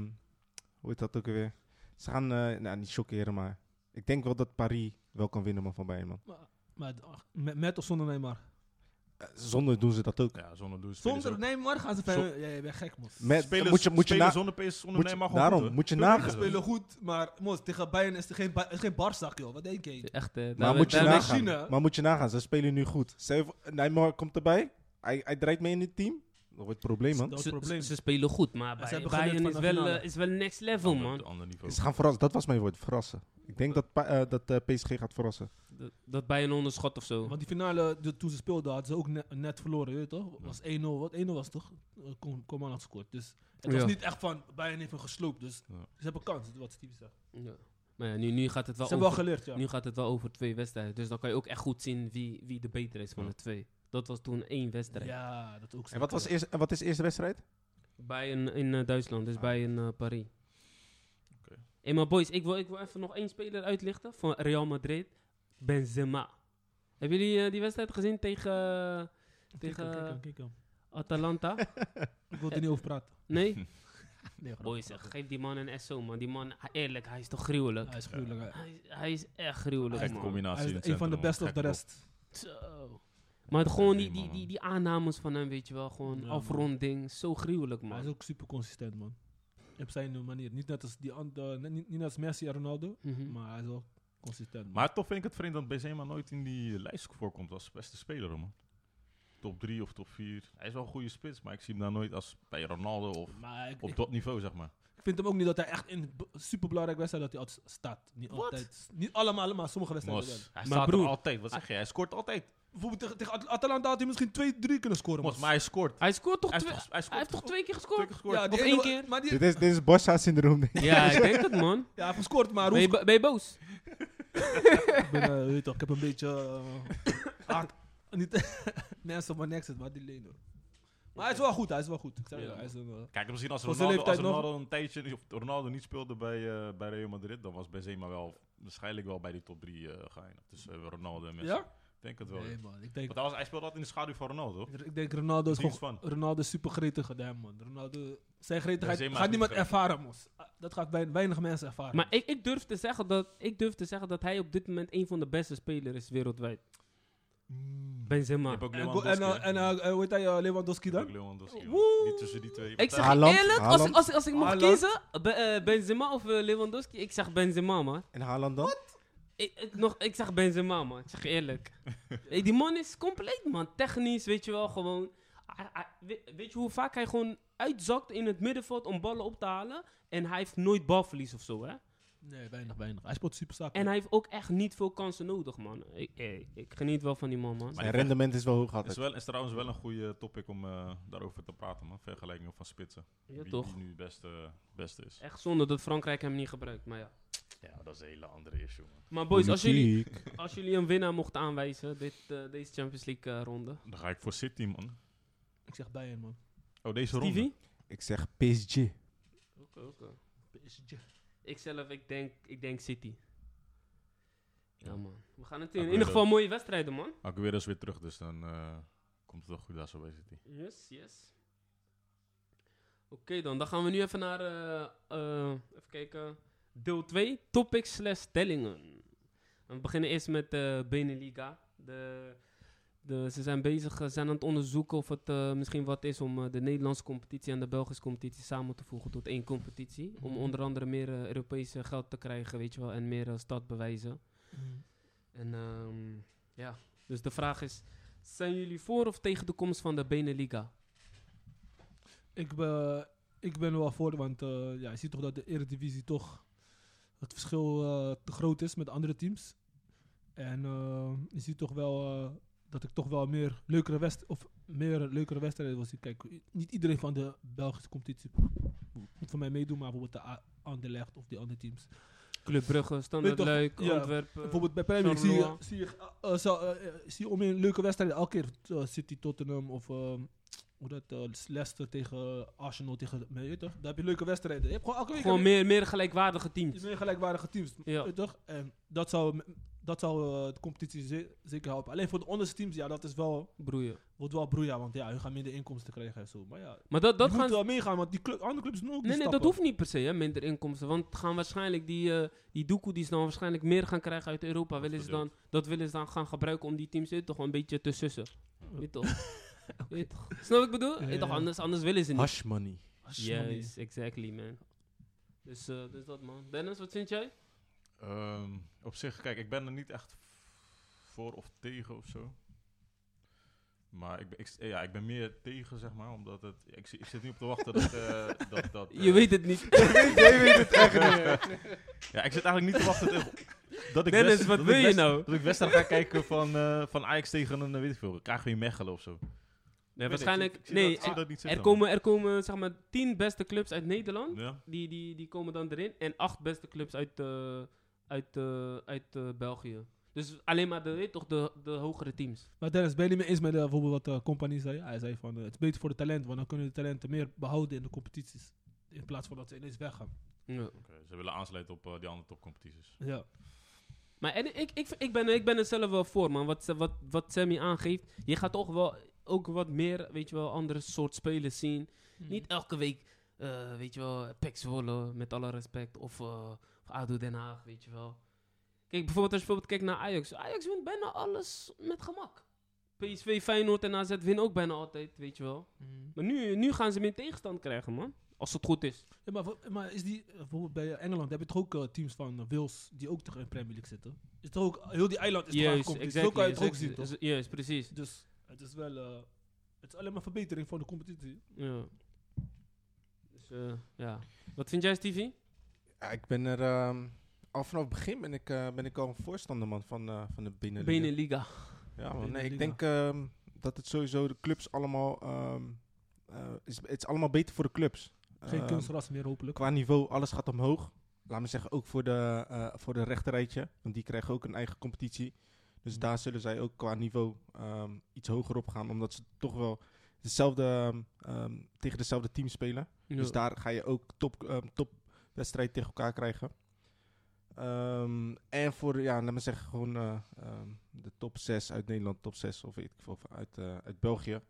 hoe heet dat ook alweer? Ze gaan, eh, nou niet shockeren, maar... Ik denk wel dat Paris wel kan winnen man, van Bayern, man. Maar, maar ach, met, met of zonder Neymar? Eh, zonder doen ze dat ook. Ja, zonder doen spelen ze ook- Zonder Neymar gaan ze spelen. Ja, je bent gek, man. Met, Spelers- moet je, moet je spelen na- zonder PS, zonder moet je- Neymar gewoon daarom, goed, hoor. moet je Spelen nagaan. Ze spelen goed, maar mos, tegen Bayern is er geen, Ba- is geen Barzak, joh. Wat denk je? Echt, eh, daar- maar, Nou, moet je daar- bij nagaan, China- maar moet je nagaan, ze spelen nu goed. Stel je voor, Neymar komt erbij, hij, hij draait mee in het team. Dat wordt het probleem, man. Dat is Ze, het probleem. ze- ze spelen goed, maar bij- hebben geleerd Bayern van is de wel, finale. eh, is wel next level, Ander- man. Ander niveau. Ze gaan verrassen, dat was mijn woord, verrassen. Ik denk dat, Pa- eh, dat eh, PSG gaat verrassen. Dat, dat Bayern onderschat of zo. Want die finale, de, toen ze speelden, hadden ze ook ne- net verloren, weet je toch? Was 1-0, wat 1-0 was toch? Eh, Kom- Coman had gescoord. Dus het was Ja. niet echt van Bayern heeft hem gesloopt. Dus Ja. ze hebben kans, wat Steve zegt. Ze Ja. Maar ja, nu, nu gaat het wel hebben wel over... geleerd, ja. nu gaat het wel over twee wedstrijden. Dus dan kan je ook echt goed zien wie, wie de beter is van Ja. de twee. Dat was toen één wedstrijd. Ja, dat ook. En wat, was eerst, en wat is de eerste wedstrijd? Bayern in eh, Duitsland, dus Ah. Bayern eh, Paris. Oké. Hey, maar boys, ik wil, ik wil even nog één speler uitlichten van Real Madrid. Benzema. Hebben jullie eh, die wedstrijd gezien tegen, eh, tegen Atalanta? Ik wil er niet over praten. Nee? Nee, grap. Boys, eh, geef die man een SO, man. Die man, eerlijk, hij is toch gruwelijk? Hij is gruwelijk. hè. Hij, hij is echt gruwelijk, Gekke man. combinatie. Hij in het is een van de centrum, beste man. of de Gekke rest. Zo. Maar het gewoon die, Nee, die, man. die, die aannames van hem, weet je wel. Gewoon Ja, afronding. Zo gruwelijk, Hij man. is ook super consistent, man. Op zijn manier. Niet net als, die andere, niet, niet net als Messi en Ronaldo, Mhm. maar hij is wel consistent. man. Maar toch vind ik het vreemd dat Benzema nooit in die lijst voorkomt als beste speler, hoor, man. Top 3 of top 4. Hij is wel een goede spits, maar ik zie hem daar nooit als bij Ronaldo of Maar ik, op dat niveau, zeg maar. ik vind hem ook niet dat hij echt in b- superbelangrijke wedstrijden dat hij altijd staat. Niet Wat? altijd. Niet allemaal, maar sommige wedstrijden Mos, wel. hij staat broer- er altijd. Wat zeg je? Hij scoort altijd. Bijvoorbeeld tegen, tegen At- Atalanta had hij misschien 2, 3 kunnen scoren. Mos, man. maar hij scoort. Hij scoort toch Hij, twee... scoort- hij Hij heeft scoort. toch twee keer Twee gescoord? keer gescoord. Ja, Of die één ene- keer? Maar die, Dit is, dit is Barca-syndroom. denk ik. Ja, ik denk het, man. ja, hij heeft gescoord, maar Ben je, hoe... bo- ben je boos? Ik, ben, eh, weet toch, ik heb een beetje... eh, hard- niet mensen op mijn nek zitten, maar die leen hoor. Maar hij is wel goed, hij is wel goed. Ik zeg Ja, je, hij is een, eh, Kijk, misschien als Voor zijn Ronaldo, als leeftijd nog- Ronaldo een tijdje niet- of Ronaldo niet speelde bij, eh, bij Real Madrid, dan was Benzema wel waarschijnlijk wel bij die top 3 eh geëindigd. Dus eh, Ronaldo en Messi. Ja? Ik denk het wel. Nee man, ik denk... Want hij, was, hij speelde altijd in de schaduw van Ronaldo. Ik denk Ronaldo is Dienst gewoon... van. Ronaldo is super gretig gedaan, man. Ronaldo... Zijn gretigheid Benzema gaat is niet niemand gretig. ervaren, mos. Ah, Dat gaat wein- weinig mensen ervaren. Maar ik, ik, durf te zeggen dat, ik durf te zeggen dat hij op dit moment een van de beste spelers is wereldwijd. Je Benzema. hebt ook En, go- en, Lewandowski. eh, en, hè? eh, eh, hoe heet hij, eh, Lewandowski Je hebt ook dan? Lewandowski. man. Woe! Die tussen die twee. eh, Ik zeg je Haaland, eerlijk, als, Haaland. als, als, ik mocht Haaland. kiezen, be- eh, Benzema of eh, Lewandowski, ik zeg Benzema, man. En Haaland dan? Ik, ik nog, ik zeg Benzema, man. Ik zeg je eerlijk. Hey, die man is compleet, man. Technisch, weet je wel, gewoon... Hij- hij- we- weet je hoe vaak hij gewoon uitzakt in het middenveld om ballen op te halen? En hij heeft nooit balverlies of zo, hè? Nee, weinig, weinig. Hij speelt super zaak. En hij heeft ook echt niet veel kansen nodig, man. Ik, eh, ik geniet wel van die man, man. Maar Zijn die- rendement is wel hoog Het is, altijd. wel, is trouwens wel een goede topic om eh, daarover te praten, man. Vergelijkingen van spitsen. Ja, wie, toch? wie nu het beste, beste is. Echt zonde dat Frankrijk hem niet gebruikt, maar ja. Ja, dat is een hele andere issue, man. Maar boys, als jullie, als jullie een winnaar mochten aanwijzen, dit, eh, deze Champions League eh, ronde. Dan ga ik voor City, man. Ik zeg Bayern, man. Oh, deze ronde. Stevie? Ik zeg PSG. Oké, oké. PSG. Ik zelf, ik denk, ik denk City. Ja, man. We gaan het in, Aguero. in ieder geval mooie wedstrijden, man. Aguero is weer terug, dus dan eh, komt het wel goed daar zo bij City. Yes, yes. Oké dan, dan gaan we nu even naar, eh, eh, even kijken, deel 2, topics slash stellingen. En we beginnen eerst met de Beneliga. De, de, ze zijn bezig, eh, zijn aan het onderzoeken of het eh, misschien wat is om eh, de Nederlandse competitie en de Belgische competitie samen te voegen tot één competitie. Om onder andere meer eh, Europese geld te krijgen, weet je wel, en meer eh, startbewijzen. Mm. En ehm, ja, dus de vraag is: zijn jullie voor of tegen de komst van de Beneliga? Ik ben, ik ben er wel voor, want eh, ja, je ziet toch dat de Eredivisie toch het verschil eh, te groot is met andere teams. En eh, je ziet toch wel eh, dat ik toch wel meer leukere, west of meer leukere wedstrijden wil zien. Kijk, i- niet iedereen van de Belgische competitie moet voor mij meedoen, maar bijvoorbeeld de A- Anderlecht of die andere teams. Club Brugge, Standard Weet toch, Luik, ja, Antwerpen. bijvoorbeeld bij Premier League zie je, Charleroi. zie, je, eh, eh, zo, eh, eh, zie je om in leuke wedstrijden elke keer eh, City, Tottenham of eh, hoe dat, eh, Leicester tegen eh, Arsenal tegen, maar je weet toch? Daar heb je leuke wedstrijden. Je hebt gewoon elke week Gewoon heb je- meer, meer gelijkwaardige je teams. meer gelijkwaardige teams. Ja. Weet je toch? En dat zou, dat zou eh, de competitie ze- zeker helpen. Alleen voor de onderste teams, ja, dat is wel, Broeien. wordt wel broeia, want ja, hun gaan minder inkomsten krijgen en zo. Maar ja, Maar dat, dat die moeten gaan. wel meegaan, want die club, andere clubs doen ook die Nee, nee, dat stappen. hoeft niet per se, hè, minder inkomsten. Want gaan waarschijnlijk die, eh die doekoe die ze dan waarschijnlijk meer gaan krijgen uit Europa. Willen ze dan, dat willen ze dan gaan gebruiken om die teams eh, toch wel een beetje te sussen. Weet toch? Weet toch? Snap wat ik bedoel? Ja, Weet toch, ja. anders, anders willen ze niet. Hash money. Als je maar niet- Yes, exactly, man. Dus, eh, dus dat, man. Dennis, wat vind jij? Ehm, op zich, kijk, ik ben er niet echt voor of tegen of zo. Maar ik ben, ik, ja, ik ben meer tegen, zeg maar, omdat het... Ik, zi- ik zit niet op te wachten dat... eh, dat, dat Je eh, weet het niet. Ja, ik zit eigenlijk niet te wachten tegen- dat ik Dennis, West- wat dat wil ik je West- nou? Dat ik Wester ga kijken van, eh, van Ajax tegen een, eh, weet ik veel, KGW Mechelen of zo. Ik weet Nee, niet, waarschijnlijk. ik zie nee, dat- ik zie er- dat niet er, zitten, man. komen, er komen zeg maar tien beste clubs uit Nederland. Ja, Die, die, die komen dan erin. En acht beste clubs uit, eh, uit, eh, uit eh, België. Dus alleen maar de, weet toch, de, de hogere teams. Maar Dennis, ben je niet mee eens met eh, bijvoorbeeld wat eh Compagnie zei? Hij zei van, eh, het is beter voor de talent, want dan kunnen de talenten meer behouden in de competities. In plaats van dat ze ineens weggaan. Oké, ze willen aansluiten op eh, die andere topcompetities. Ja. Maar en, ik, ik, ik, ben, ik ben er zelf wel voor, man. Wat, ze- wat, wat Sammy aangeeft. Je gaat toch wel ook wat meer, weet je wel, andere soort spelers zien. Hmm. Niet elke week, eh, weet je wel, Pek Zwolle, met alle respect. Of, eh, of ADO Den Haag, weet je wel. Kijk, bijvoorbeeld als je bijvoorbeeld kijkt naar Ajax. Ajax wint bijna alles met gemak. PSV, Feyenoord en AZ winnen ook bijna altijd, weet je wel. Mm. Maar nu, nu gaan ze meer tegenstand krijgen, man. Als het goed is. Ja, maar, voor- maar is die, eh, bijvoorbeeld bij eh, Engeland heb je toch ook eh, teams van eh, Wales die ook tegen een Premier League zitten? Is toch ook, heel die eiland is toch Juist, aangekomen? dus Zo kan je het ook exactly. zien, toch? Is- Juist, precies. Dus het is wel, eh, het is alleen maar verbetering van de competitie. Ja. Dus, eh, ja. Wat vind jij, Stevie? Ja, ik ben er... ehm, al vanaf het begin ben ik, eh, ben ik al een voorstander man, van, eh, van de binnenliga. Beneliga. Ja, man. Nee, Beneliga. ik denk ehm, dat het sowieso de clubs allemaal... ehm, eh, is, het is allemaal beter voor de clubs. Geen Ehm, kunstras meer, hopelijk. Qua niveau, alles gaat omhoog. Laat me zeggen, ook voor de, eh voor de rechterrijtje. Want die krijgen ook een eigen competitie. Dus Mhm. daar zullen zij ook qua niveau ehm, iets hoger op gaan. Omdat ze toch wel dezelfde, ehm, ehm, tegen dezelfde team spelen. Dus daar ga je ook top, ehm, topwedstrijd tegen elkaar krijgen. Ehm, en voor, ja, laat me zeggen, gewoon eh, ehm, de top 6 uit Nederland, top 6 of weet ik veel, of uit, eh, uit België.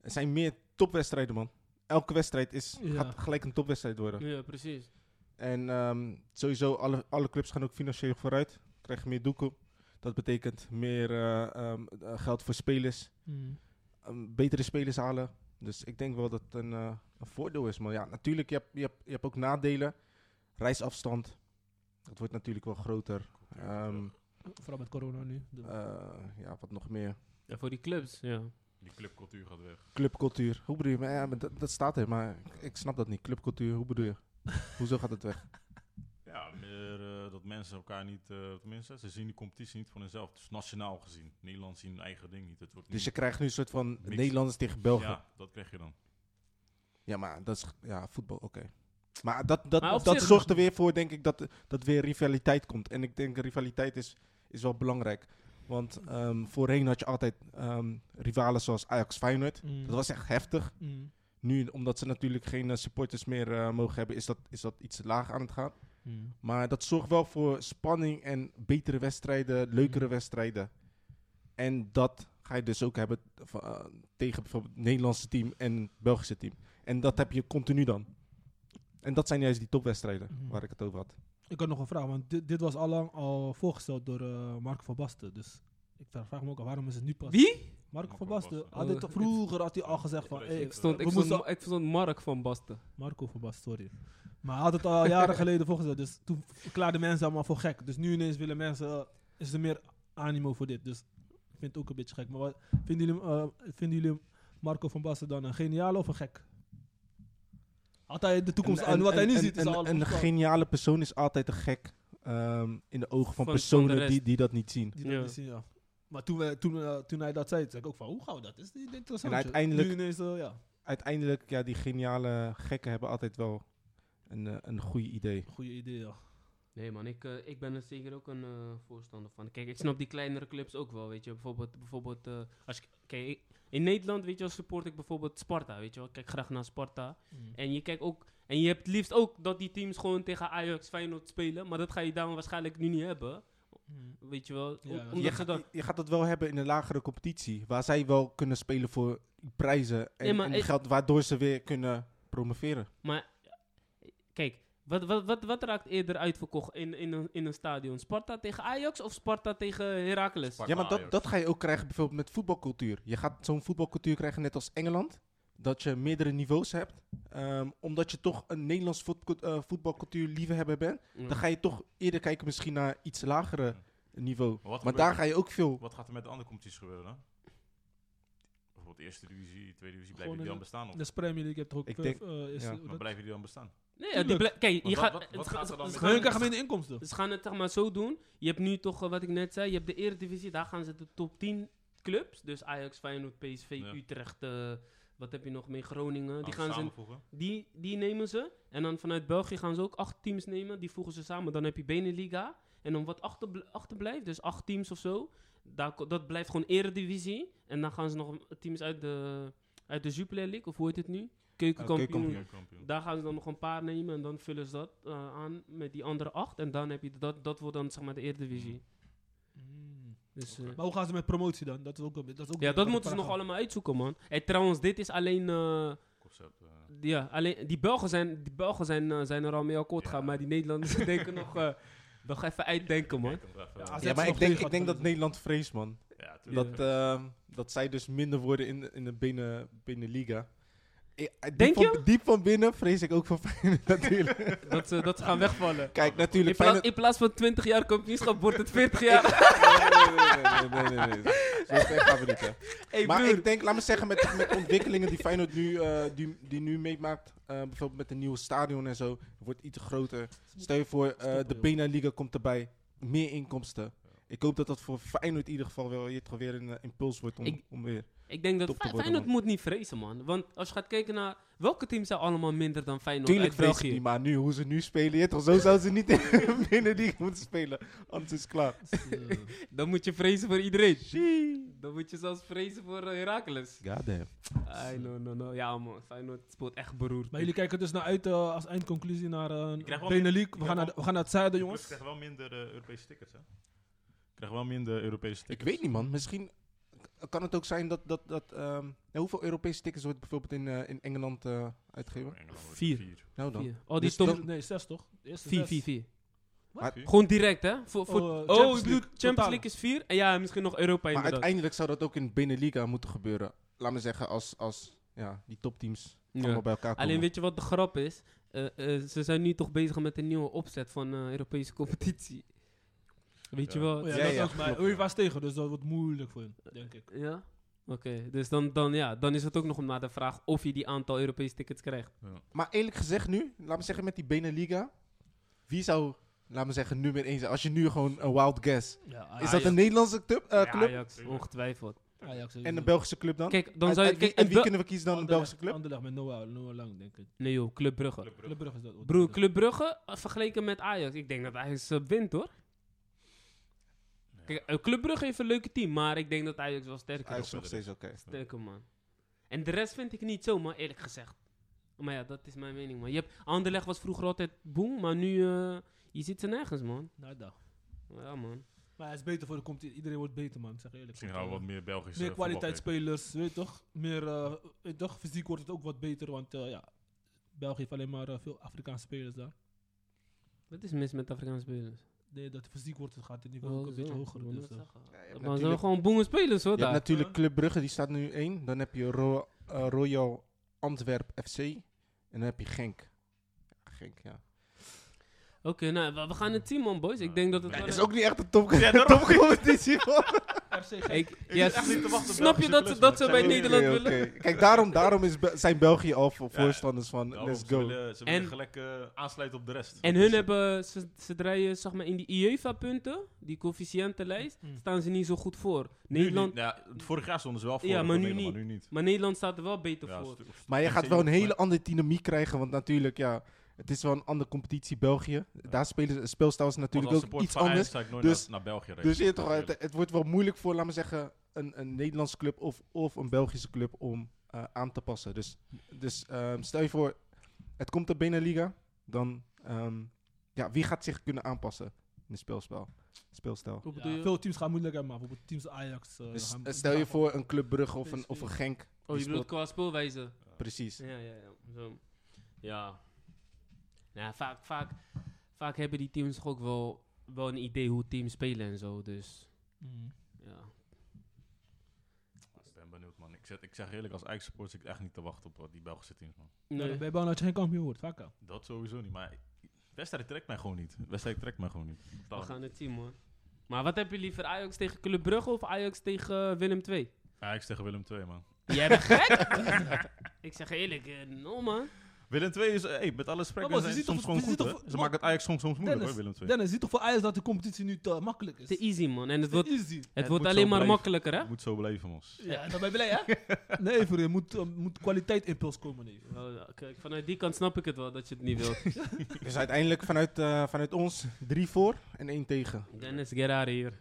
Er zijn meer topwedstrijden, man. Elke wedstrijd is, Ja. gaat gelijk een topwedstrijd worden. Ja, precies. En ehm, sowieso, alle, alle clubs gaan ook financieel vooruit. Krijgen meer doeken. Dat betekent meer eh, ehm, eh, geld voor spelers. Mm. Ehm, betere spelers halen. Dus ik denk wel dat het een, eh, een voordeel is. Maar ja, natuurlijk, je hebt, je hebt, je hebt ook nadelen. Reisafstand. Dat wordt natuurlijk wel groter. Ehm, Vooral met corona nu. dus- De- eh, ja, wat nog meer. Ja, voor die clubs, ja. Die clubcultuur gaat weg. Clubcultuur. Hoe bedoel je? Maar ja, maar dat, dat staat er. Maar ik, ik snap dat niet. Clubcultuur, hoe bedoel je? Hoezo gaat het weg? Ja, meer eh, dat mensen elkaar niet, eh, tenminste, ze zien die competitie niet voor hunzelf. Dus nationaal gezien, Nederland zien hun eigen ding niet. Het wordt Dus je niet- krijgt nu een soort van Mix. Nederlanders tegen Belgen. Ja. Ja, dat krijg je dan. maar dat is... Ja, voetbal, oké. Maar dat, dat, Maar op dat zich- zorgt er weer voor, denk ik, dat, dat weer rivaliteit komt. En ik denk, rivaliteit is, is wel belangrijk. Want ehm, voorheen had je altijd ehm, rivalen zoals Ajax Feyenoord. Mhm. Mm. Eh, Dat was echt heftig. Mm. Nu, omdat ze natuurlijk geen eh, supporters meer eh, mogen hebben, is dat, is dat iets laag aan het gaan. Maar dat zorgt wel voor spanning en betere wedstrijden, leukere Mhm. wedstrijden. En dat ga je dus ook hebben van, eh, tegen bijvoorbeeld het Nederlandse team en het Belgische team. En dat heb je continu dan. En dat zijn juist die topwedstrijden Mhm. waar ik het over had. Ik had nog een vraag, want dit, dit was allang al voorgesteld door eh, Mark van Basten. Dus ik vraag me ook af, waarom is het nu pas... Wie? Mark van van Basten. Basten. Had dit, Oh, vroeger had hij al gezegd van... Ik hey, Ik stond, ik, We stond, moesten- ik stond Mark van Basten. Marco van Basten, sorry. Maar hij had het al jaren geleden voorgesteld. Dus toen verklaarden mensen allemaal voor gek. Dus nu ineens willen mensen... eh, is er meer animo voor dit. Dus ik vind het ook een beetje gek. Maar wat, vinden, jullie, eh, vinden jullie Marco van Basten dan een geniaal of een gek? Had hij de toekomst... En- en- aan wat hij nu en- ziet is en- al... Een voorspeld. geniale persoon is altijd een gek ehm, in de ogen van, Van- van de personen rest. die, die dat niet zien. Die dat Ja. niet zien, ja. Maar toen, wij, toen, eh, toen hij dat zei, zei ik ook van, hoe gauw dat is niet interessant. En joh. uiteindelijk- Nu ineens, eh, ja, Uiteindelijk, ja, die geniale gekken hebben altijd wel een, eh, een goede idee. goede idee, ja. Nee man, ik, eh, ik ben er zeker ook een eh, voorstander van. Kijk, ik snap die kleinere clubs ook wel, weet je. Bijvoorbeeld, bijvoorbeeld eh, als je, kijk, ik- in Nederland, weet je wel, support ik bijvoorbeeld Sparta, weet je wel. Ik kijk graag naar Sparta. En je kijkt ook, en je hebt het liefst ook dat die teams gewoon tegen Ajax Feyenoord spelen. Maar dat ga je dan waarschijnlijk nu niet hebben, Mm. weet je wel. Ja, dat- omdat Je, ze ga- dan- je- je gaat dat wel hebben in een lagere competitie, waar zij wel kunnen spelen voor prijzen en, Nee, maar en die ik- geld, waardoor ze weer kunnen promoveren. Maar eh, kijk, wat, wat, wat, wat raakt eerder uitverkocht in, in, een, in een stadion? Sparta tegen Ajax of Sparta tegen Heracles? Sparta. Ja, maar dat, Ajax. dat ga je ook krijgen bijvoorbeeld met voetbalcultuur. Je gaat zo'n voetbalcultuur krijgen net als Engeland, dat je meerdere niveaus hebt. ehm, omdat je toch een Nederlands voetco- eh, voetbalcultuur liefhebber bent, Ja. dan ga je toch eerder kijken misschien naar iets lagere niveau. Maar wat Maar gebeurt daar er- ga je ook veel Wat gaat er met de andere competities gebeuren dan? Bijvoorbeeld eerste divisie, tweede divisie, Gewoon blijven die in dan bestaan? Of, De Dus Premier League, je hebt toch ook... Ik eh, denk- eh, is- ja. hoe maar dat- blijven die dan bestaan? Nee, ja, die Tuurlijk. bla- kijk, je Maar wat- gaat... wat- het wat ga- gaat er dan het met ga- Hun krijgen minder inkomsten. Ze gaan het zeg maar zo doen. Je hebt nu toch, eh, wat ik net zei, je hebt de Eredivisie, daar gaan ze de top 10 clubs. Dus Ajax, Feyenoord, PSV, Ja. Utrecht, eh, wat heb je nog meer, Groningen. Die, Alles gaan ze, samenvoegen? die, die nemen ze. En dan vanuit België gaan ze ook acht teams nemen. Die voegen ze samen. Dan heb je Beneliga. En dan wat achterbl- achterblijft, dus acht teams of zo. Daar, ko- dat blijft gewoon Eredivisie. En dan gaan ze nog teams uit de, uit de Jupiler League, of hoe heet het nu? Keukenkampioen. keukenkampioen. Ja, kampioen. Daar gaan ze dan nog een paar nemen en dan vullen ze dat eh, aan met die andere acht. En dan heb je dat, dat wordt dan zeg maar de Mm. Eredivisie. Dus, eh, Maar hoe gaan ze met promotie dan? Dat is ook... een be- Dat is ook ja, een- dat een moeten ze nog paragraaf. allemaal uitzoeken, man. Hey, trouwens, dit is alleen, eh, Concept, eh, ja, alleen. Die Belgen zijn, die Belgen zijn, eh, zijn er al mee akkoord Ja. gaan, maar die Nederlanders denken nog, eh, nog even uitdenken, man. kijk, even- Ja, ja, AZ Ja, maar nog ik denk, tegen ik denk gaat dat Nederland vreest, man. tuurlijk. Dat, ehm, dat zij dus minder worden in, de- in de binnen, binnenliga. Ik- eh, diep Denk van, je? Diep van binnen vrees ik ook voor Feyenoord natuurlijk. Dat ze, dat ze gaan wegvallen. Kijk, In natuurlijk plaats, Feyenoord... in plaats van 20 jaar kampioenschap wordt het 40 jaar. Nee, nee, nee, nee, nee, nee. Zo ver gaan we niet, hè. Hey, Maar broer. ik denk, laat me zeggen, met, met ontwikkelingen die Feyenoord nu, eh, die, die nu meemaakt, eh, bijvoorbeeld met een nieuwe stadion en zo, wordt iets groter. Stel je voor, eh, Stoppen, de joh. Benaliga komt erbij, meer inkomsten. Ik hoop dat dat voor Feyenoord in ieder geval wel je toch weer een eh, impuls wordt om, Ik- om weer... Ik denk dat Top te Fey- worden, Feyenoord man. moet niet vrezen, man. Want als je gaat kijken naar welke teams zijn allemaal minder dan Feyenoord Tuurlijk uit vrees ik België. niet, maar nu, hoe ze nu spelen, je toch, zo zouden ze niet in de Benaliga moeten spelen. Anders is het klaar. Eh, Dan moet je vrezen voor iedereen. Dan moet je zelfs vrezen voor eh, Heracles. Goddamn. Ai, no, no, no. Ja, man. Feyenoord speelt echt beroerd. Maar jullie kijken dus naar uit eh, als eindconclusie naar Je krijgt wel eh Benelux. meer- je We gaan, krijgt naar, wel- de- we gaan naar het zuiden, Jongens, jongens. ik krijg wel minder eh, Europese tickets, hè? Ik krijg wel minder Europese Ik tickets. weet niet, man. Misschien k- kan het ook zijn dat... dat, dat ehm, ja, hoeveel Europese tickets wordt bijvoorbeeld in, eh, in Engeland eh, uitgegeven? Engeland wordt Vier. vier. Nou dan. Vier. Oh, die Dus stond dan- Nee, zes toch? De eerste 4, zes. 4, 4. Vier? Gewoon direct, hè? Voor, voor... eh, Oh, Champions ik bedoel, League, Champions totaal. League is 4. En ja, misschien nog Europa Maar inderdaad. uiteindelijk zou dat ook in de Beneliga moeten gebeuren. Laat me zeggen, als, als ja, die topteams Ja. allemaal bij elkaar komen. Alleen weet je wat de grap is? Eh, eh, ze zijn nu toch bezig met een nieuwe opzet van eh, Europese competitie. Weet je Ja. wel? Oh, ja, Ja, dat ja, ook. Maar klopt, UEFA is tegen, dus dat wordt moeilijk voor hen, denk ik. Ja? Oké, dus dan, dan, ja, dan is het ook nog maar de vraag of je die aantal Europese tickets krijgt. Maar eerlijk gezegd nu, laat me zeggen met die Beneliga. Wie zou laat me zeggen, nummer 1 zijn? Als je nu gewoon een wild guess. Ja, Is Ajax. dat een Nederlandse club? eh, Ah, Ja, club? Ajax, ongetwijfeld. Ajax En Belgische een Belgische club dan? Kijk, dan Uit- zou je... uit wie- Kijk, en een wie Bel- kunnen we kiezen Oh, dan een Belgische club? Anderlecht met Noah, Noah Lang, denk ik. Nee joh, Club Brugge. Club Brugge. Club Brugge is dat. Broer, Club Brugge eh, vergeleken met Ajax. Ik denk dat Ajax eh, wint hoor. Kijk, eh, Club Brugge heeft een leuke team, maar ik denk dat Ajax wel sterker Hij is. is nog steeds oké. Sterker man. En de rest vind ik niet zo, man, eerlijk gezegd. Maar ja, dat is mijn mening, man. Je hebt, Anderlecht was vroeger altijd boem, maar nu, eh, je ziet ze nergens, man. Nada. Ja, man. Nou, Maar hij is beter voor de komt. Iedereen wordt beter, man. Ik zeg je eerlijk. Misschien gaan we wat meer Belgische meer voetbal kijken. kwaliteitsspelers, weet je toch? Meer, eh, weet je toch? Fysiek wordt het ook wat beter, want eh, ja, België heeft alleen maar eh, veel Afrikaanse spelers daar. Wat is mis met Afrikaanse spelers? Nee, dat fysiek wordt het, gaat het niveau ook een beetje hoger. Ik wil Dus, net eh, zeggen. Ja, je Maar hebt ze natuurlijk- zijn gewoon boemen spelers, hoor, Je hebt daar. natuurlijk Club Brugge, die staat nu 1. Dan heb je Ro- eh, Royal Antwerp FC. En dan heb je Genk. Ja, Genk, ja. Oké, nou, we, we gaan het zien, man, boys. Ik Ja. denk dat het... Ja, wel dat Dat is een- ook niet echt een top, Ja, daarom. topcompetitie, man. RC Ik, zit ja, echt niet te wachten op snap Belgische je dat, ze- clubs, dat man. ze Ik bij zeg je Nederland Oké, willen? oké. Kijk, daarom, daarom is Be- zijn België al voor voorstanders van Daarom, let's ze go. willen- Ze En- willen gelijk eh, aansluiten op de rest. En Dus, hun eh, hebben, ze, ze draaien zeg maar, in die UEFA-punten, die coëfficiëntenlijst, Mm. staan ze niet zo goed voor. nu Nederland, niet. Ja, het vorig jaar stonden ze wel voor. Ja, de maar nu Romeinen, niet. Maar nu niet. maar Nederland staat er wel beter Ja, voor. stu- stu- Maar je stu- gaat wel een maar- hele andere dynamiek krijgen. Want natuurlijk, ja, het is wel een andere competitie, België. Daar spelen ze- speelstijl is Want natuurlijk als ook support iets van Ajax anders. zou ik nooit Dus- naar- naar België rijden. Dus je, weet toch, het, Eerlijk. het wordt wel moeilijk voor, laten we zeggen, een, een Nederlandse club of, of een Belgische club om eh, aan te passen. Dus, dus ehm, stel je voor, het komt de Beneliga, dan ehm, ja, wie gaat zich kunnen aanpassen in het speelspel, speelstijl? Hoe bedoel Ja, je? Oh, veel teams gaan moeilijk hebben, maar bijvoorbeeld teams Ajax. eh, Dus gaan- eh, stel je voor een Club Brugge of een, PSV. of een Genk. oh, die je bedoelt speelt- qua speelwijze? Precies. Ja, ja, ja. Zo. Ja. Nou, vaak, vaak, vaak hebben die teams toch ook wel, wel een idee hoe teams spelen en zo, dus Mm. ja. Ik ben benieuwd, man. Ik, zet, ik zeg eerlijk, als Ajax supporter zit ik echt niet te wachten op eh, die Belgische teams, man. Ja, Nee. dan ben je bang dat je geen kampioen wordt, vaak al. Dat sowieso niet, maar... ik- Wedstrijd trekt mij gewoon niet. Wedstrijd trekt mij gewoon niet. We gaan het zien, man. Maar wat heb je liever, Ajax tegen Club Brugge of Ajax tegen eh, Willem II? Ajax tegen Willem II, man. Jij bent gek? ik zeg je eerlijk, eh, no man. Willem II is, eh, hey, met alle gesprekken, Oh, Maar zijn Bas, ze soms je ziet toch- gewoon je ziet goed, toch- hè? Ze maken het Ajax soms, soms moeilijk, hoor, Dennis, Willem II. Dennis, ziet toch voor Ajax dat de competitie nu te makkelijk is? Te easy man. En het wordt, Te easy. het Het wordt moet alleen zo maar blijven. makkelijker hè? Het moet zo blijven, mos. Ja, dan ben je blij, hè? nee, voor je moet, eh, moet kwaliteit impuls komen, nee. Wel, ja, kijk, vanuit die kant snap ik het wel dat je het niet wilt. Dus uiteindelijk vanuit, eh, vanuit ons drie voor en één tegen. Dennis Gerrard hier.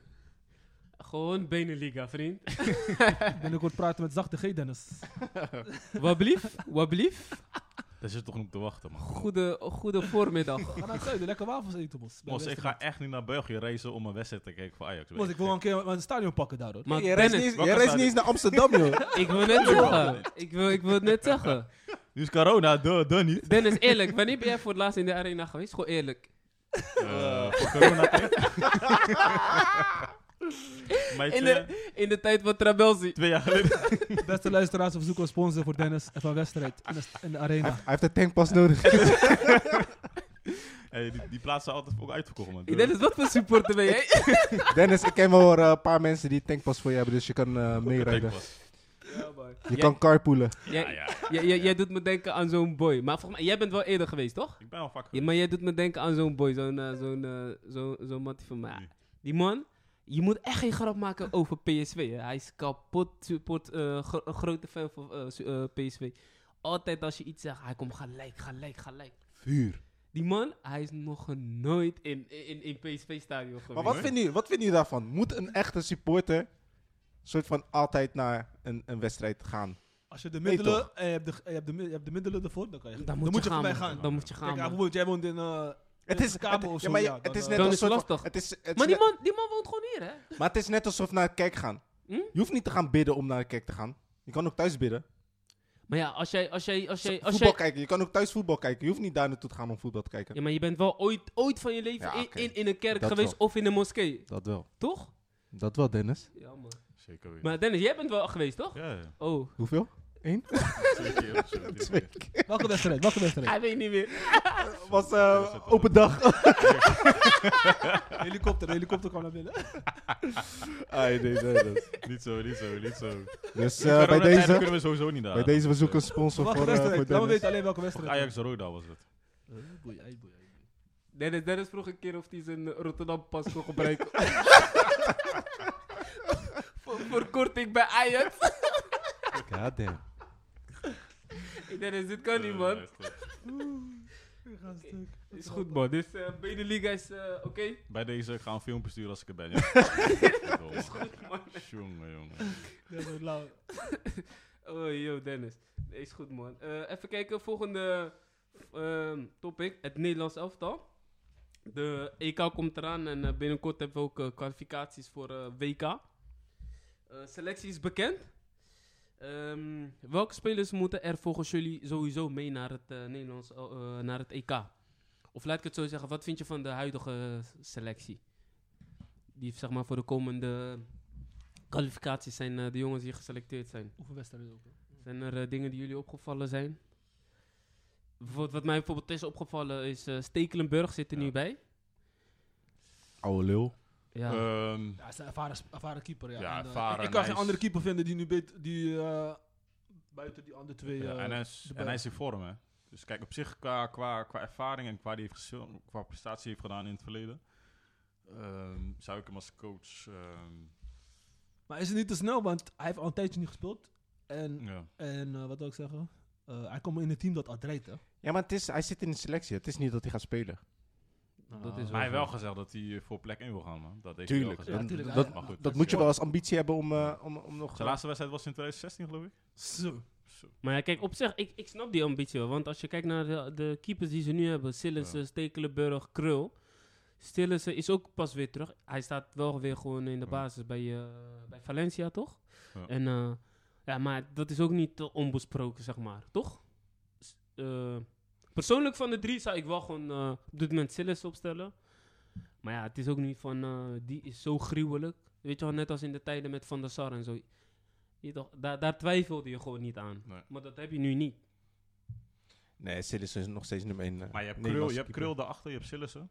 Gewoon Beneliga, vriend. Binnenkort praten met zachte G, Dennis. Wat blief, wat blief. Daar zit toch niet op te wachten, man. Goede, goede voormiddag. Ga naar het zuiden, lekker wafels eten, Bos. Bij Mos, ik Westerland. ga echt niet naar België reizen om een wedstrijd te kijken voor Ajax. Bos, ik wil wel een keer een stadion pakken daar, hoor. Maar je reist niet, Dennis, eens- wat jij kan daar reist niet eens naar Amsterdam, joh. ik wil net zeggen. Ik wil, ik wil het net zeggen. Nu is corona, duh, duh niet. Dennis, eerlijk, wanneer ben jij voor het laatst in de arena geweest? Gewoon eerlijk. Eh, voor corona tijd. Maar In twee, de, in de tijd van Trabelsi. twee jaar geleden. Beste luisteraars, we zoeken een sponsor voor Dennis en van wedstrijd in de, st- in de Hij arena. heeft- hij heeft de tankpas nodig. Hey, die, die plaatsen zijn altijd ook uitverkocht, man. Dennis, wat voor supporter ben jij? Dennis, ik ken wel eh, een paar mensen die tankpas voor je hebben, dus je kan eh, meerijden. Je Ja. kan carpoolen. Ja, ja. Jij- jij- Jij doet me denken aan zo'n boy. Maar volgens mij, jij bent wel eerder geweest, toch? Ik ben al vaak Ja, maar jij doet me denken aan zo'n boy, zo'n eh, zo'n eh, zo'n zo'n mattie van mij. Nee. Die man, je moet echt geen grap maken over PSV. Hè. Hij is kapot, support, eh, gro- een grote fan van eh, su- eh, PSV. Altijd als je iets zegt, hij komt gelijk, gelijk, gelijk. Vuur. Die man, hij is nog nooit in, in, in PSV-stadion geweest. Maar wat vindt, u, wat vindt u daarvan? Moet een echte supporter soort van altijd naar een, een wedstrijd gaan? Als je de Nee, middelen, toch? en je, hebt de, en je hebt de, mi- je hebt de middelen ervoor, dan kan je Dan moet je, gaan, voorbij man. gaan. Dan moet je gaan, Kijk, man. bijvoorbeeld, jij woont in... eh, Het is, Kabel het, of ja, zo, maar je- ja, het is dan, net eh. als Dan is soort van- lastig. het is, het is Maar die net- man, die man woont gewoon hier, hè? maar het is net alsof naar een kerk gaan. Hm? Je hoeft niet te gaan bidden om naar een kerk te gaan. Je kan ook thuis bidden. Maar ja, als jij... Als jij, als jij, als voetbal jij kijken. Je kan ook thuis voetbal kijken. Je hoeft niet daar naartoe te gaan om voetbal te kijken. ja, maar je bent wel ooit, ooit van je leven Ja, in, oké. in, in een kerk Dat geweest of in een moskee. Dat wel. Toch? Dat wel, Dennis. Ja, man. Zeker weten. Maar Dennis, jij bent wel geweest, toch? Ja, ja. Oh, Hoeveel? Twee keer of zo, drie Twee keer. keer. Welke wedstrijd? Welke wedstrijd? hij weet niet meer. was eh, open dag. helikopter, helikopter kwam naar binnen. Ai, Ah, nee, nee, nee. Niet zo, niet zo, niet zo. Dus eh, Corona bij tijd deze... kunnen we sowieso niet naar. Bij deze, we zoeken zoeken een sponsor Welke voor, eh, wedstrijd? voor Laat me Dennis. weten alleen welke wedstrijd. Ajax Roda was het. Eh, boei, ei, boei, ei, boei. Dennis, Dennis vroeg een keer of hij zijn Rotterdam pas kon gebruiken. voor, voor korting bij Ajax. Goddamn. Ik Dennis, dit kan niet, Eh, man. nee, goed. Is goed, man. Dus eh Beneliga is eh, oké. Bij deze, ik ga een filmpje sturen als ik er ben. Ja. is goed, man. Jongen, jongen. Ja, zo lauw. Oh, yo, Dennis. Nee, is goed, man. Eh, even kijken, volgende ehm, topic. Het Nederlands elftal. De EK komt eraan en eh, binnenkort hebben we ook eh, kwalificaties voor eh, WK. Eh, selectie is bekend. Ehm, welke spelers moeten er volgens jullie sowieso mee naar het, eh, Nederlands, el- eh, naar het EK? Of laat ik het zo zeggen, wat vind je van de huidige selectie? Die zeg maar voor de komende kwalificaties zijn eh, de jongens die geselecteerd zijn. Oefenwedstrijd ook. hè. Zijn er eh, dingen die jullie opgevallen zijn? Bijvoorbeeld, wat mij bijvoorbeeld is opgevallen is eh, Stekelenburg zit er Ja. nu bij. Oude lul. Ja. Ehm, Ja, hij is een ervaren, ervaren keeper, ja. Ja, En, eh, ervaren, ik- ik en kan hij geen is- andere keeper vinden die nu beter, die eh, buiten die andere twee... ja, eh, en, hij is, erbij. en hij is in vorm, hè. Dus kijk, op zich qua, qua, qua ervaring en qua, die heeft gezien- qua prestatie heeft gedaan in het verleden... ehm, zou ik hem als coach... ehm, Maar is het niet te snel, want hij heeft al een tijdje niet gespeeld. En, ja. en eh, wat wil ik zeggen? Eh, hij komt in een team dat al draait, hè. Ja, maar het is, hij zit in de selectie. Het is niet dat hij gaat spelen. dat is Eh, Maar hij heeft wel zo. gezegd dat hij eh, voor plek 1 wil gaan, man. Dat heeft Tuurlijk. hij wel gezegd. Ja, Dan- tuurlijk. dat Hij- Maar goed, dat moet je wel als ambitie hebben om, eh, om, om nog... Zijn laatste wedstrijd was in 2016, geloof ik. Zo. Zo. Maar ja, kijk, op zich, ik, ik snap die ambitie wel. Want als je kijkt naar de, de keepers die ze nu hebben, Sillissen, Stekelenburg, Krul. Sillissen is ook pas weer terug. Hij staat wel weer gewoon in de Ja. basis bij, eh, bij Valencia, toch? Ja. En, eh, ja, maar dat is ook niet eh, onbesproken, zeg maar, toch? S- eh, persoonlijk van de drie zou ik wel gewoon eh, op dit moment Sillissen opstellen. Maar ja, het is ook niet van, eh, die is zo gruwelijk. Weet je wel, net als in de tijden met Van der Sar en zo. Je toch, daar, daar twijfelde je gewoon niet aan. Nee. Maar dat heb je nu niet. Nee, Sillis is nog steeds nummer eh, 1. Maar je hebt Krul, je hebt krul daarachter, je hebt Sillissen.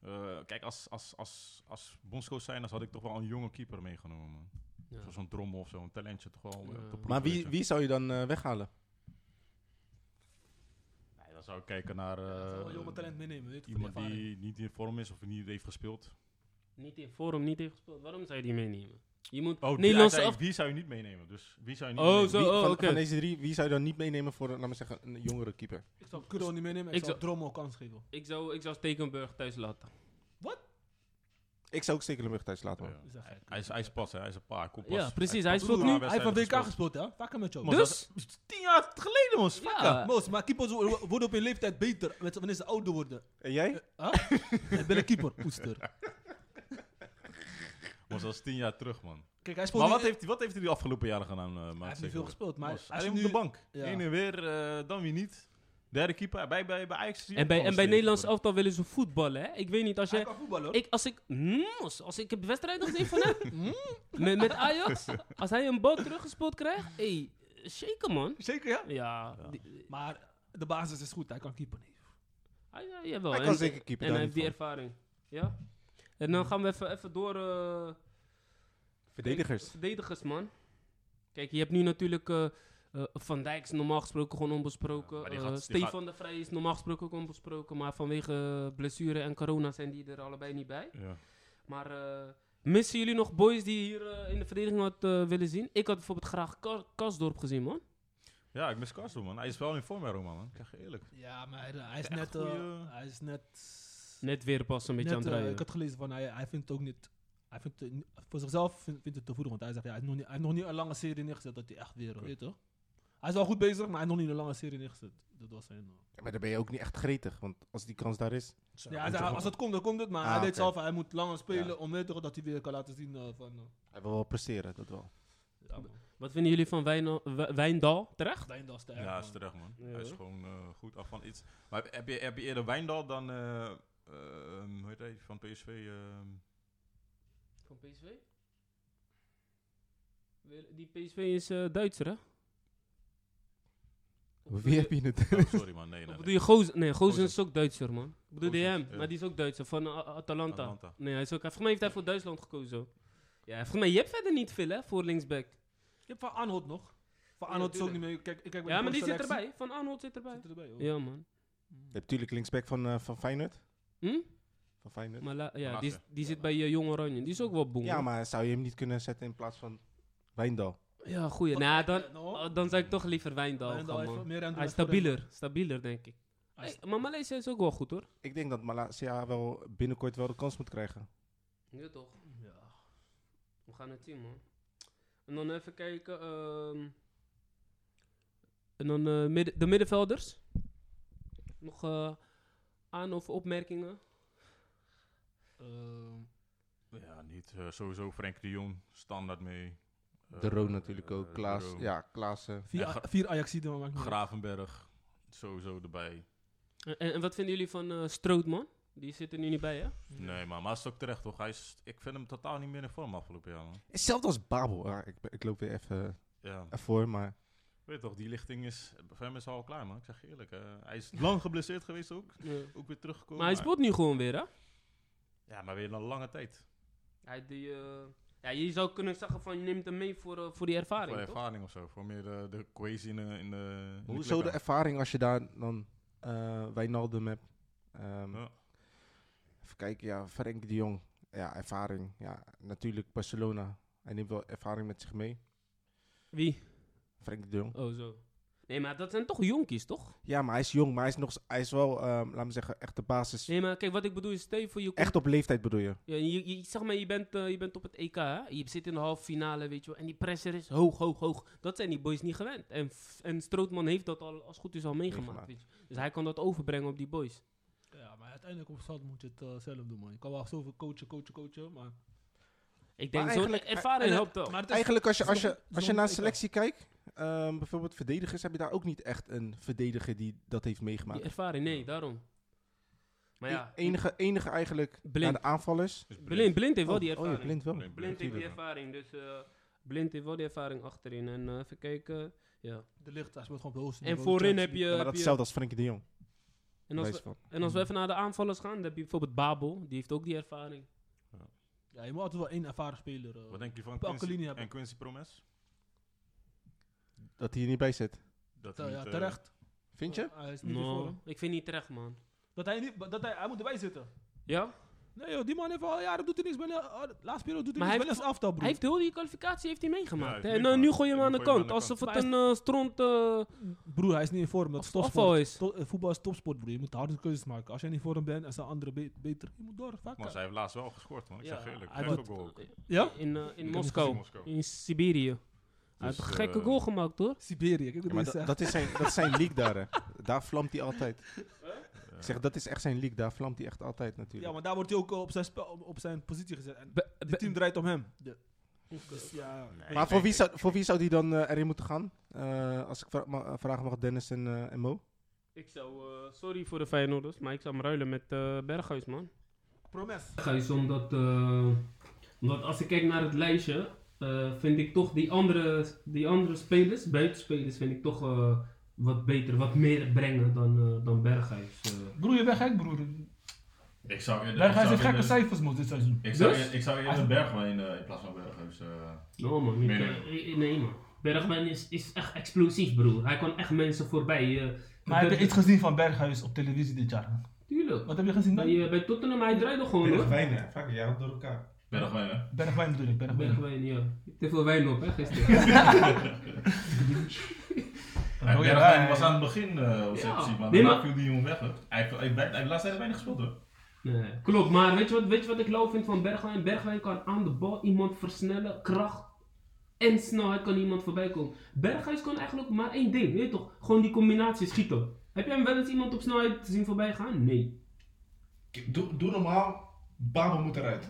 Eh, kijk, als, als, als, als bondscoach zijn, dan had ik toch wel een jonge keeper meegenomen, man. Ja. Zo- Zo'n drommel of zo, een talentje toch wel. eh, Ja. op de ploeg, Maar weet wie, je. wie zou je dan eh, weghalen? Nee, dan zou ik kijken naar eh, Ja, wel een jonge talent meenemen, weet je. voor die iemand ervaring. die niet in vorm is of niet heeft gespeeld. Niet in vorm, niet in gespeeld. Waarom zou je die meenemen? Je moet Oh, die, Nederlandse hij zei, af... die zou je niet meenemen. Dus wie zou je niet Oh, meenemen? zo, Wie- oh, van, oké. van deze drie, wie zou je dan niet meenemen voor, laten we zeggen, een jongere keeper? Ik zou Kuro niet meenemen, ik, Ik zou zou- Drommel kans geven. Ik zou, ik zou Stekenburg thuis laten. Ik zou ook Stekelenburg thuis laten. Ja. hoor. Is dat gek? Hij is, hij is pas, hè. hij is een paar. Kom pas. Ja, precies. Hij speelt doet nu. maar. Hij heeft een wedstrijden WK gespeeld, hè? Vaker met jou. Maar Dus? Tien jaar geleden, man. Ja. Moos, maar keepers wo- worden op hun leeftijd beter met, wanneer ze ouder worden. En jij? Huh? ik ben een keeper, oester. Was dat is tien jaar terug, man. Kijk, hij speelt Maar nu- wat heeft, hij- wat heeft hij de afgelopen jaren gedaan, eh Hij Maarten heeft niet Stekelenburg? veel gespeeld, maar Was- hij hij is is nu... op de bank. ja. Heen en weer, eh, dan weer niet. Derde keeper. Bij, bij, bij Ajax zie je En bij, ook wel en bij steeds Nederlands worden. elftal willen ze voetballen, hè? Ik weet niet, als Hij jij... kan voetballen, hoor. Ik, als ik... Mos, als ik heb wedstrijden gezien van hem... mm, met, met Ajax... Als hij een bal teruggespeeld krijgt... Hé, hey, shaken, man. Zeker, ja? Ja, Ja. die- Maar de basis is goed, hij kan keeper niet. hij, Ah, ja, jawel. Hij En- kan zeker keeper, En daar hij heeft die niet ervaring. Ja? En Hmm. dan gaan we even, even door... eh, Verdedigers. Kijk, Verdedigers, man. Kijk, je hebt nu natuurlijk... eh, eh, Van Dijk is normaal gesproken gewoon onbesproken. Ja, maar die Eh, gaat- die Stefan gaat- de Vrij is normaal gesproken ook onbesproken. Maar vanwege eh, blessure en corona zijn die er allebei niet bij. Ja. Maar eh, missen jullie nog boys die je hier eh, in de verdediging had eh, willen zien? Ik had bijvoorbeeld graag Ka- Kasdorp gezien, man. Ja, ik mis Castro, man. Hij is wel in vorm, hè, Roma, man. Ik zeg je eerlijk. Ja, maar hij, hij is Echt net... eh, goeie- hij is net... Net weer pas een beetje net, aan het eh, rijden. ik had gelezen van, hij, hij vindt het ook niet... Hij vindt het niet- voor zichzelf vindt, vindt het te voeden, want hij zegt, ja, hij, heeft nog niet, hij heeft nog niet een lange serie neergezet dat hij echt weer, weet je toch? Hij is wel goed bezig, maar hij heeft nog niet een lange serie neergezet. Dat was zijn... eh, Ja, maar dan ben je ook niet echt gretig, want als die kans daar is... Ja, hij zei, als het komt, dan komt het. Maar Ah, hij weet oké. zelf, hij moet langer spelen Ja. om weet toch, dat hij weer kan laten zien eh, van... eh, Hij wil wel presteren, dat wel. ja, man. Wat vinden jullie van Wijna- Wij- Wijndal terecht? Wijndal is te Ja, erg, man. is terecht, man. Ja, hij is hoor. gewoon eh, goed af van iets. Maar heb- heb je, heb je eerder Wijndal dan... eh, ehm, hoe heet hij? Van PSV? ehm, Van PSV? Die PSV is eh, Duitser, hè? Of Wie heb bedoel je het? oh, sorry, man. Nee, nee, of bedoel nee. je Gozen? Nee, Gozen Gozens. is ook Duitser, man. Ik bedoel je Gozens, hem, ja. maar die is ook Duitser, van eh, A- Atalanta. Atalanta. Nee, hij is ook... Volgens mij heeft hij voor Duitsland gekozen. Ja, volgens mij, je hebt verder niet veel, hè, voor linksback. Je hebt Van Aanholt nog. Van Aanholt is ook niet tuurlijk. meer... Kijk, ik kijk bij Ja, de maar die zit selectie. erbij. Van Arnold zit erbij. Zit erbij, hoor. Ja, man. Je hebt natuurlijk linksback van, eh, van Feyenoord. Hm? Van Feyenoord. Mala- ja, die, is- Malasia. die zit bij eh, Jong Oranje. Die is ook wel boem. ja, hoor. maar zou je hem niet kunnen zetten in plaats van Wijndal? Ja, goeie. Nou, dan, oh, dan zou ik toch liever Wijndal Wijndal gaan, heeft man. wat meer ruimte Hij is voor hem. stabieler. Stabieler, denk ik. Hij is- Hey, maar Maleisië is ook wel goed, hoor. Ik denk dat Malasia wel binnenkort wel de kans moet krijgen. Ja, toch. Ja. We gaan het zien, man. En dan even kijken. ehm, en dan eh, midden- de middenvelders. Nog eh, aan- of opmerkingen? Ehm, Ja, niet. eh, sowieso Frenkie de Jong, standaard mee. Eh, de Roon natuurlijk eh, ook. De Klaas. Roon. Ja, Klaas. eh, vier, Ja, A- Gra- vier Ajaxiden, maar maakt niet uit. Gravenberg, sowieso erbij. En, en wat vinden jullie van eh, Strootman? Die zit er nu niet bij, hè? Nee, maar, maar is ook terecht, toch? Hij is, ik vind hem totaal niet meer in vorm afgelopen jaar, man. Hetzelfde als Babel. Ah, ik, ben- ik loop weer even eh, Ja. ervoor, maar Weet toch, die lichting is... Voor hem is al klaar, man. Ik zeg je eerlijk. eh, hij is lang geblesseerd geweest ook. Ja. Ook weer teruggekomen. Maar hij speelt nu gewoon weer, hè? Ja, maar weer een lange tijd. Hij die, eh, ja, je zou kunnen zeggen van je neemt hem mee voor, eh, voor die ervaring, Voor toch? ervaring of zo. Voor meer eh, de cohesie in, de- in de... in de hoezo de club, ervaring als je daar dan eh Wijnaldum hebt? Ehm, Ja. Even kijken, ja, Frenkie de Jong. Ja, ervaring. Ja, natuurlijk Barcelona. Hij neemt wel ervaring met zich mee. Wie? Frenkie de Jong. Oh, zo. Nee, maar dat zijn toch jonkies, toch? Ja, maar hij is jong, maar hij is, nog, hij is wel, ehm laat me zeggen, echt de basis. Nee, maar kijk, wat ik bedoel is, stel je voor je komt- Echt op leeftijd bedoel je? Ja, je, je- zeg maar, je bent, eh, je bent op het EK, hè? je zit in de halve finale, weet je wel, en die pressure is hoog, hoog, hoog. Dat zijn die boys niet gewend. En, F- en Strootman heeft dat al, als het goed is, al meegemaakt, Meegemaakt. weet je. Dus hij kan dat overbrengen op die boys. Ja, maar uiteindelijk op het veld moet je het eh, zelf doen, man. Je kan wel zoveel coachen, coachen, coachen, maar... Ik denk, zo'n eigenlijk- ervaring helpt wel. maar het is- Eigenlijk als je, het is als je, nog- het is als je nog naar niet selectie kijkt, ehm, bijvoorbeeld verdedigers, heb je daar ook niet echt een verdediger die dat heeft Die meegemaakt. ervaring, nee, daarom. Maar ja, E- enige, enige eigenlijk Blind. naar de aanvallers. Dus Blind. Blind, Blind heeft wel die Oh, oh ja, ervaring. blind wel. Blind, Blind heeft die natuurlijk. ervaring, dus eh, Blind heeft wel die ervaring achterin. En eh, even kijken, ja. De licht, hij speelt gewoon op het hoogste En niveau, voorin Champions heb je... Ja, maar Heb dat is je hetzelfde als Frenkie de Jong. Eh, en, als Wijs we, van. en als we even naar de aanvallers gaan, dan heb je bijvoorbeeld Babel, die heeft ook die ervaring. League. Ja, je moet altijd wel één ervaren speler. eh. Wat denk je van Welke linie Quincy, hebben? en Quincy Promes? Dat hij er niet bij zit. Dat Te- hij ja, niet, eh, terecht. Vind je? Eh, hij is niet in No, vorm. ik vind niet terecht, man. Dat hij niet... Dat hij, hij moet erbij zitten. Ja? Nee joh, die man heeft al jaren doet hij niks. Bijna, eh, laatste periode doet hij Maar hij niks. Bijna zijn aftal, broer. Hij heeft heel die kwalificatie heeft hij meegemaakt. Ja, hij hè. heeft en eh, nu meegemaakt. gooi je En hem aan nu de gooi je kant, hem aan de alsof het Maar een eh, stront... eh, Broer, hij is niet in vorm. Dat is Of- topsport. afval is. To- eh, voetbal is topsport, broer. Je moet harde keuzes maken. Als jij niet in vorm bent en zijn anderen be- beter, je moet door. Vaak. Maar zij heeft laatst wel gescoord, man. Ik Ja, zeg je eerlijk. hij Gekke moet- goal ook. Ja? in, eh, in hem Moskou, gezien, Moskou. in Siberië. hij heeft Dus, een gekke eh, goal gemaakt, hoor. Siberië, kijk Ja, wat maar dus, hij dat, eh, zegt. dat is zijn, dat is zijn league daar. Hè. Daar vlamt hij altijd. Ik zeg, dat is echt zijn league. Daar vlamt hij echt altijd natuurlijk. Ja, maar daar wordt hij ook eh, op zijn, spel, op- op zijn positie gezet. En Be- het be- team draait om hem. De- Dus ja, Nee, maar ik voor wie, denk- zou, voor wie zou die dan eh, erin moeten gaan? Eh, als ik vra ma- vragen mag, Dennis en, eh, en Mo. Ik zou, eh, sorry voor de Feyenoorders, maar ik zou hem ruilen met eh Berghuis, man. promes. Berghuis, omdat, eh, omdat als ik kijk naar het lijstje, eh, vind ik toch die andere, die andere spelers, buitenspelers, vind ik toch eh, wat beter, wat meer brengen dan, eh, dan Berghuis. eh. Broer, je bent gek, broer. Ik zou eerder- ik zou Berghuis heeft gekke eerder- cijfers, man, dit seizoen. Ik Dus? zou, eer- ik zou eerder Bergwijn eh, in plaats van Berghuis. eh, No man, ik, Meer eh, ik- nee man. Bergman is, is echt explosief broer. Hij kan echt mensen voorbij. eh, Maar heb dat- je iets gezien van Berghuis op televisie dit jaar? Tuurlijk. Wat heb je gezien Bij, dan? eh, bij Tottenham, hij draaide gewoon hoor. Weinig, vaak een jaar door elkaar. Bergwijn, hè? Bergwijn bedoel ik, Bergwijn. Bergwijn, ja. Je hebt te veel wijn op hè gisteren. Hij- Oh, ja, Bergwijn hij- was aan het begin eh op Ja. zijn positie, maar Nee, daarna maar- viel die jongen weg. Hè. Hij heeft hij heeft bijna- hij heeft laatst heel weinig gespeeld, hoor. nee, klopt, maar weet je, wat, weet je wat ik lauw vind van Bergwijn? Bergwijn kan aan de bal iemand versnellen, kracht en snelheid kan iemand voorbij komen. Berghuis kan eigenlijk maar één ding, weet je toch? Gewoon die combinatie schieten. Heb jij hem wel eens iemand op snelheid zien voorbij gaan? Nee. Doe, doe normaal, Babel moet eruit.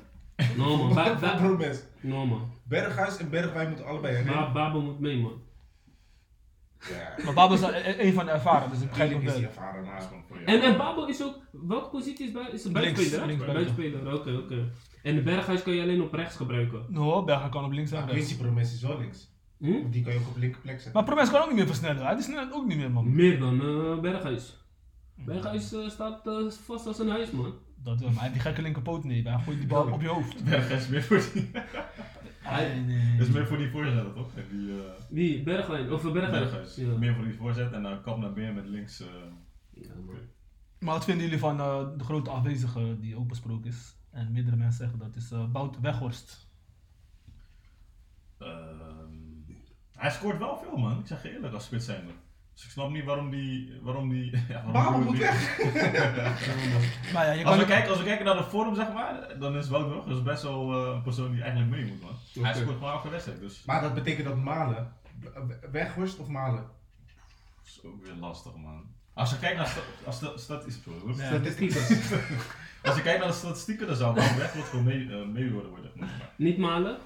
No man, Ba- Voor Ba- Promes. no, man. Berghuis en Bergwijn moeten allebei erin. Ba- Babel moet mee man. Ja, Maar Babel is dan e- e- een van de ervaren, dus ik begrijp eigenlijk hem is die wel. ervaren, maar... En, en Babel is ook, welke positie is, bij, is het buitenspeler? hè? links buiten. buitenspeler, oké, oké. En de Berghuis kan je alleen op rechts gebruiken. No, Berghuis kan op links Maar en rechts. Quincy Promes is wel links. Hm? Die kan je ook op linkerplek zetten. Maar Promes kan ook niet meer versnellen, hij is snelheid ook niet meer, man. Meer dan eh, Berghuis. Berghuis eh, staat eh, vast als een huis, man. Dat, wel, maar hij heeft die gekke linkerpoot niet, maar hij gooit die bal op je hoofd. Bergwijn is meer voor die, Nee, nee. is meer voor die voorzetten, toch? En die, eh, Wie? Bergwijn, of eh, Berghuis. Berghuis. Ja. Meer voor die voorzet en dan kap naar binnen met links. eh, Ja, man. Maar wat vinden jullie van eh, de grote afwezige die ook besproken is? En meerdere mensen zeggen dat is eh Bout Weghorst. Ehm, hij scoort wel veel, man. Ik zeg je eerlijk, als spits zijnde. Dus ik snap niet waarom die... Waarom die ja, waarom Babel die- moet weg. Maar ja, Als je kan we, ook- kijken, als we kijken naar de vorm, zeg maar, dan is Wout Weghorst best wel eh, een persoon die eigenlijk mee moet, man. Hij Oké. scoort gewoon elke wedstrijd, dus Maar dat betekent dat Malen. Weghorst of Malen? dat is ook weer lastig, man. Als je kijkt naar, sta- als de, statistieken, Ja. Statistieken. als je kijkt naar de statistieken, dan zou Wout Weghorst gewoon mee, eh, meeloren worden. zeg maar. Niet malen.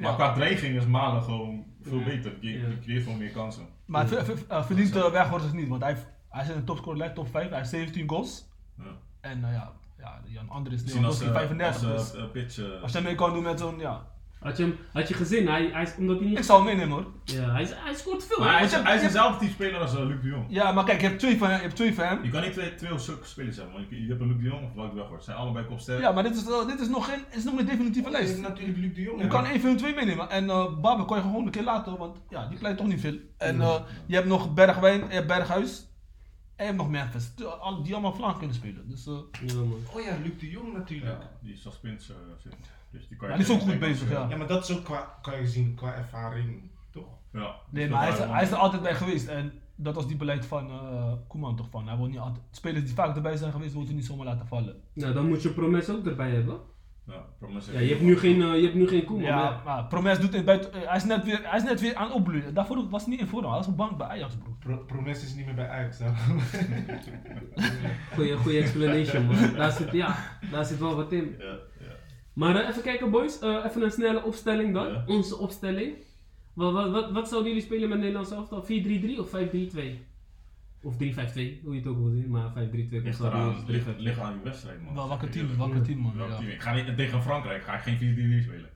Maar qua dreiging is Malen gewoon veel Ja. beter. Je, Ja. je creëert gewoon meer kansen. Maar ver- ver- eh, verdient eh, Weghorst het niet, want hij, heeft- hij zit in de topscorer, lijkt top 5, hij heeft 17 goals. Ja. En eh, ja, ja, Jan Andres is Misschien als, eh, 35. dus als Als, eh, eh, pitch... eh, je mee kan doen met zo'n, ja. Had je, hem, had je gezien, hij, hij, is- omdat hij Ik niet... zou hem meenemen hoor. Ja, hij, is- hij scoort veel. maar hij hè? is, hij is eenzelfde type speler als eh, Luc de Jong. Ja, maar kijk, je hebt twee van, je hebt twee van hem. Je kan niet twee, twee of zulke spelers hebben, want je, je hebt een Luc de Jong of Wout Weghorst. Ze zijn allebei kopsterk. Ja, maar dit is, eh, dit is nog geen, is nog een definitieve lijst. Natuurlijk Luc de Jong. Je kan één van de twee meenemen. En eh Babel kon je gewoon een keer laten, want ja, die pleit toch niet veel. En eh, je hebt nog Bergwijn, je hebt Berghuis. En je hebt nog Memphis. Die, al- die allemaal flank kunnen spelen. Dus, eh, Ja, man. Oh ja, Luc de Jong natuurlijk. Ja, die is als spins eh, zit. Dus die kan ja, je die is ook tegen- goed bezig, ja. Ja, maar dat is ook qua, kan je zien qua ervaring, toch? Ja, Nee, dus maar hij dat is, hij is er altijd bij geweest. En dat was die beleid van eh Koeman toch van. Hij wil niet altijd, spelers die vaak erbij zijn geweest, wil hij niet zomaar laten vallen. Nou, dan moet je Promes ook erbij hebben. Ja, Promes Ja, je hebt nu geen, eh, je hebt nu geen Koeman ja, maar Promes doet het buiten. eh, hij, is net weer, hij is net weer aan het opbloeien. Daarvoor was hij niet in vorm. Hij was op bank bij Ajax, broer. Pro Promes is niet meer bij Ajax. hè. meer. Goeie, goeie explanation, man. Daar zit, ja, daar zit wel wat in. Ja, ja. Maar eh, even kijken, boys. Eh, even een snelle opstelling dan. Ja. Onze opstelling. Wat, wat, wat, wat zouden jullie spelen met Nederlands elftal? 4-3-3 of 5-3-2? Of 3-5-2, hoe je het ook wil zien. Maar 5-3-2 komt Ligt, wel eraan, anders. ligt, ligt aan je wedstrijd, man. Wel, welke Zeg team, je welke team, man. eerlijk. Welk ja. team? Ik ga niet, tegen Frankrijk ga ik geen 4-3-3 spelen.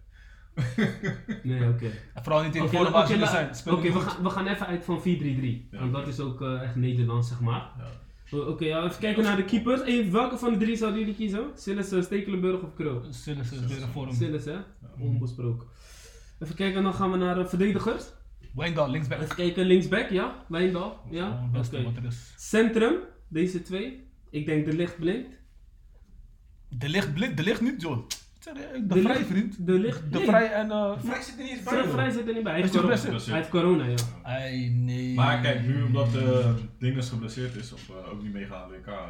Nee, oké. En vooral niet in Oké, vorm la- waar oké, ze nu la- zijn. Speel oké, niet we, goed. gaan, we gaan even uit van 4-3-3. Want dat is ook eh, echt Nederlands, zeg maar. Ja. O- Oké, ja, even kijken naar de keepers. Hey, welke van de drie zouden jullie kiezen? Sillis, eh, Stekelenburg of Krul? Sillis is weer in vorm. Sillis, hè? Onbesproken. Even kijken, dan gaan we naar eh, verdedigers. Wengal, linksback. Even kijken, linksback, ja. Wijndal, Gewoon ja. het beste Oké. wat er is. Centrum, deze twee. Ik denk de licht blinkt. De licht blind, de licht niet, joh. Serieus, De De vrij, Ligt- vriend. De licht. De vrij en. eh, Vrij zit er niet eens bij. Fred joh. Vrij zit er niet bij. Hij Is heeft hij corona. geblesseerd? Hij heeft corona, ja. Ei, nee. Dus, eh, Maar kijk, nu omdat eh Dinges geblesseerd is, of eh, ook niet meegaan aan de WK, eh,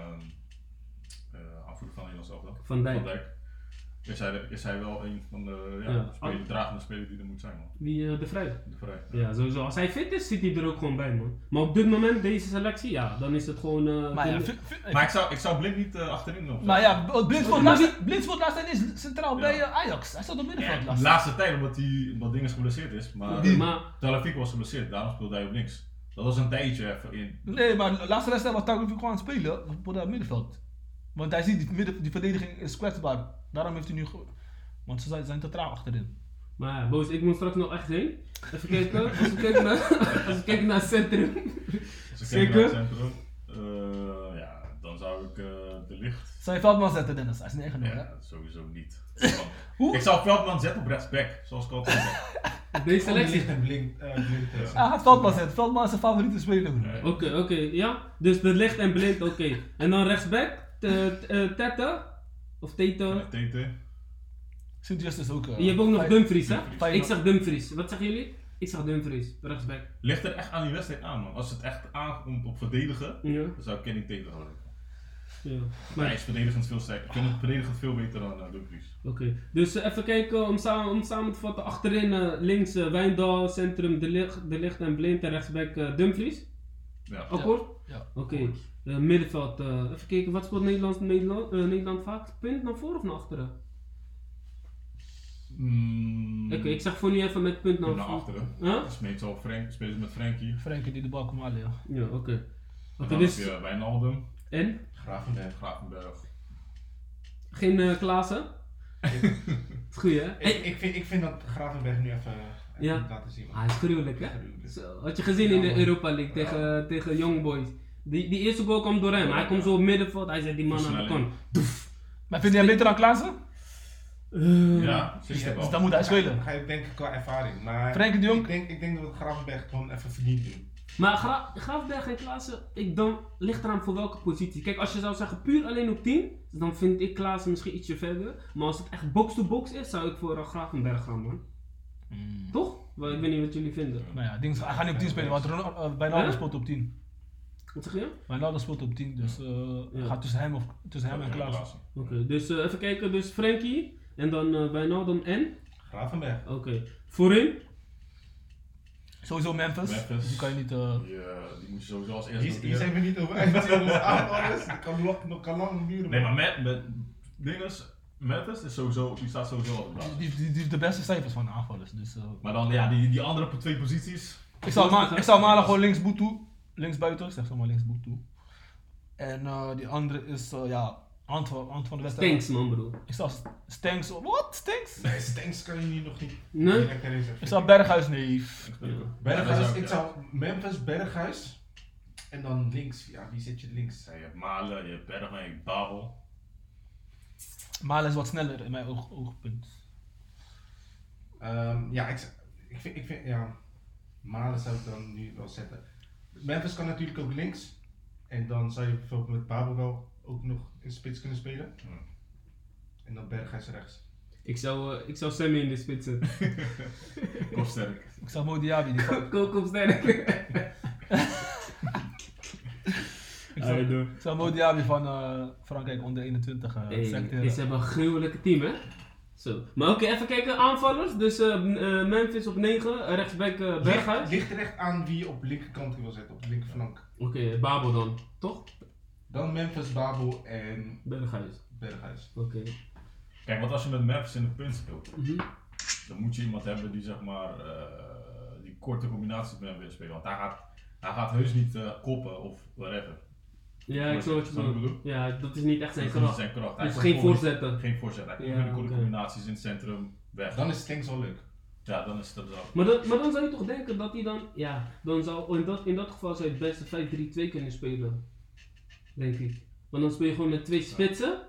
eh, aanvoerder van Nederlands elftal, Van Van Dijk. Dijk, is hij, de- is hij wel een van de ja, Ja. speler- dragende spelers die er moet zijn, man. Wie, eh, de Vrij. De vrij. Ja, sowieso. Als hij fit is, zit hij er ook gewoon bij, man. Maar op dit moment, deze selectie, ja, dan is het gewoon... eh, Maar ja, de- vi- vi- Maar ik zou, ik zou Blind niet eh, achterin opzetten. Maar ja, Blinsvoort Maar laatst, Blinsvoort laatst hij is centraal Ja. bij eh, Ajax. Hij staat op middenveld Ja, de laatst. laatste tijd, omdat, die, omdat Dinges geblesseerd is, maar Oké, maar Talavik was geblesseerd, daarom speelde hij op links. Dat was een tijdje even in. Nee, maar de laatste wedstrijd was Tagovic gewoon aan het spelen op dat middenveld. Want hij ziet, die, midden, die verdediging is kwetsbaar. Daarom heeft hij nu... ge- Want ze zijn, zijn te traag achterin. Maar ja, boos, ik moet straks nog echt heen. Even kijken. Als we kijken naar, als we kijken naar het centrum. Als ik kijk naar Zeker. het centrum, eh, ja, dan zou ik eh, de licht. Zou je Veldman zetten, Dennis? Hij is niet ingenomen, hè? Ah, Ja, sowieso niet. Want Hoe? Ik zou Veldman zetten op rechtsback, zoals ik altijd zeg. Deze Gewoon de selectie. licht en blink. eh, blink eh. Hij gaat Veldman zetten. Veldman is zijn favoriete speler. broer. Nee. Oké, oké, ja. Dus de licht en blind, oké. En dan rechtsback, te- te- eh, Tete. Of Tete. Met Tete. Sint-Just is ook... eh, Je hebt ook nog vijf- Dumfries, hè? Dumfries. Ik zeg Dumfries. Wat zeggen jullie? Ik zeg Dumfries, rechtsback. Ligt er echt aan die wedstrijd aan, man. Als het echt aankomt op verdedigen, Ja, dan zou ik Kenny Tete houden. ja. Hij Maar, is verdedigend veel sterker. Ik vind het verdedigend veel beter dan uh, Dumfries. oké. Dus eh, even kijken, om samen, om samen te vatten. Achterin eh, links eh, Wijndal, centrum de licht, de licht en blind. En rechtsback eh, Dumfries. Ja. Akkoord? Ja. Oké, eh, middenveld. eh, even kijken, wat speelt Nederland, Nederland, eh, Nederland vaak? Punt naar voren of naar achteren? Mm, Oké, ik zeg voor nu even met Hmm. punt naar, naar voren. achteren. Huh? Dat is meestal Frank, spelen ze met Frankie. Frenkie die de bal komt halen, ja. Ja, oké. En dan Oké, heb dus, je eh, Wijnaldum. en? Gravenberg. Gravenberg. Geen eh Klaassen? is goed, hè? Ik, ik, vind, ik vind dat Gravenberg nu even, even Ja. moet laten zien. man. Ah, is gruwelijk, hè? Gruwelijk. Zo, had je gezien in de Europa League tegen, eh, tegen Young Boys. Die, die eerste goal kwam door hem. Hij komt zo op middenveld, hij zet die man aan de Versnelling. kant. Maar vind je hem beter dan Klaassen? Eh, Ja, zeker Dus wel. dan moet hij spelen. Ga je denken qua ervaring. Maar Frenkie de Jong? Ik denk, ik denk dat Gravenberg gewoon even verdient nu. Maar Gra- Graafberg en Klaassen, ik dan, ligt eraan voor welke positie. Kijk, als je zou zeggen puur alleen op 10, dan vind ik Klaassen misschien ietsje verder. Maar als het echt box-to-box is, zou ik voor eh, Gravenberg gaan, man. Mm. Toch? Wel, ik weet niet wat jullie vinden. Nou ja, ding, is, hij gaat niet op 10 spelen, want Ronald- eh, Wijnaldum Hè? speelt op 10. Wat zeg je? Wijnaldum speelt op 10, dus eh Ja. gaat tussen hem, of, tussen hem en Klaas. Klaassen. Oké, dus eh, even kijken. Dus Frenkie en dan eh Wijnaldum en? Gravenberg. Oké. Voorin? Sowieso Memphis, Memphis. die kan je niet... eh, Die, eh, die moet je sowieso als eerste Hier, hier noteren. zijn we niet over uit. jongens. Aan alles. Dat kan, lang- dat kan lang duren. Nee, maar met, met dinges, Memphis is sowieso, die staat sowieso al op de plaats. die, die, die heeft de beste cijfers van de aanvallers, dus... eh, Maar dan, ja, die, die andere twee posities. Ik zou, ma ik zou Malen gewoon linksboet toe. Linksbuiten, ik zeg zomaar linksboet toe. En eh, die andere is, eh, ja, Ant van, Ant van de Westen. Thanks, man, broer. Ik zou Stanks, wat? Stanks? Nee, Stenks kan je hier nog niet. Nee? direct erin zetten. Ik zou Berghuis, nee. Ja, dat Berghuis, zou ik, ik ja. zou Memphis, Berghuis. En dan links, ja, wie zet je links? Ja, je hebt Malen, je hebt Bergman, je hebt Babel. Malen is wat sneller in mijn oog, oogpunt. Ehm, ja, ik, z- ik vind, ik vind, ja, Malen zou ik dan nu wel zetten. Memphis kan natuurlijk ook links. En dan zou je bijvoorbeeld met Babel wel ook nog in spits kunnen spelen. En dan Berghuis rechts. Ik zou, eh, ik zou Sammy in de spits zetten. Kopsterk. Ik zou Mo Diaby, die ik Kook op sterk. zou- Allee, doe. ik zou Mo Diaby van eh, Frankrijk onder 21 eh Hey, selecteren. is hebben een gruwelijke team, hè? Zo. Maar oké, even kijken. Aanvallers. Dus eh, m- eh, Memphis op 9. eh, Rechtsback eh, Ligt, Berghuis. ligt er echt aan wie je op de linkerkant wil zetten, op de linkerflank. Oké, Babel dan. Toch? Dan Memphis, Babel en Berghuis. Berghuis. Oké. Kijk, want als je met Memphis in de punt speelt, Mhm. dan moet je iemand hebben die zeg maar eh, die korte combinaties met hem wil spelen. Want hij gaat, hij gaat heus niet eh, koppen of whatever. Ja, ik Snap snap wat je wat ik bedoelt. bedoel? Ja, dat is niet echt zijn Dat is niet kracht. zijn kracht. Hij Dus kan geen gewoon niet- voorzetten. Geen voorzet. Hij komt Ja, met de korte oké. combinaties in het centrum weg. Dan is Stenks wel leuk. Ja, dan is dat wel. Maar, dat, maar dan zou je toch denken dat hij dan... Ja, dan zou, in, dat, in dat geval zou je het beste 5-3-2 kunnen spelen. Denk ik. Want dan speel je gewoon met twee spitsen.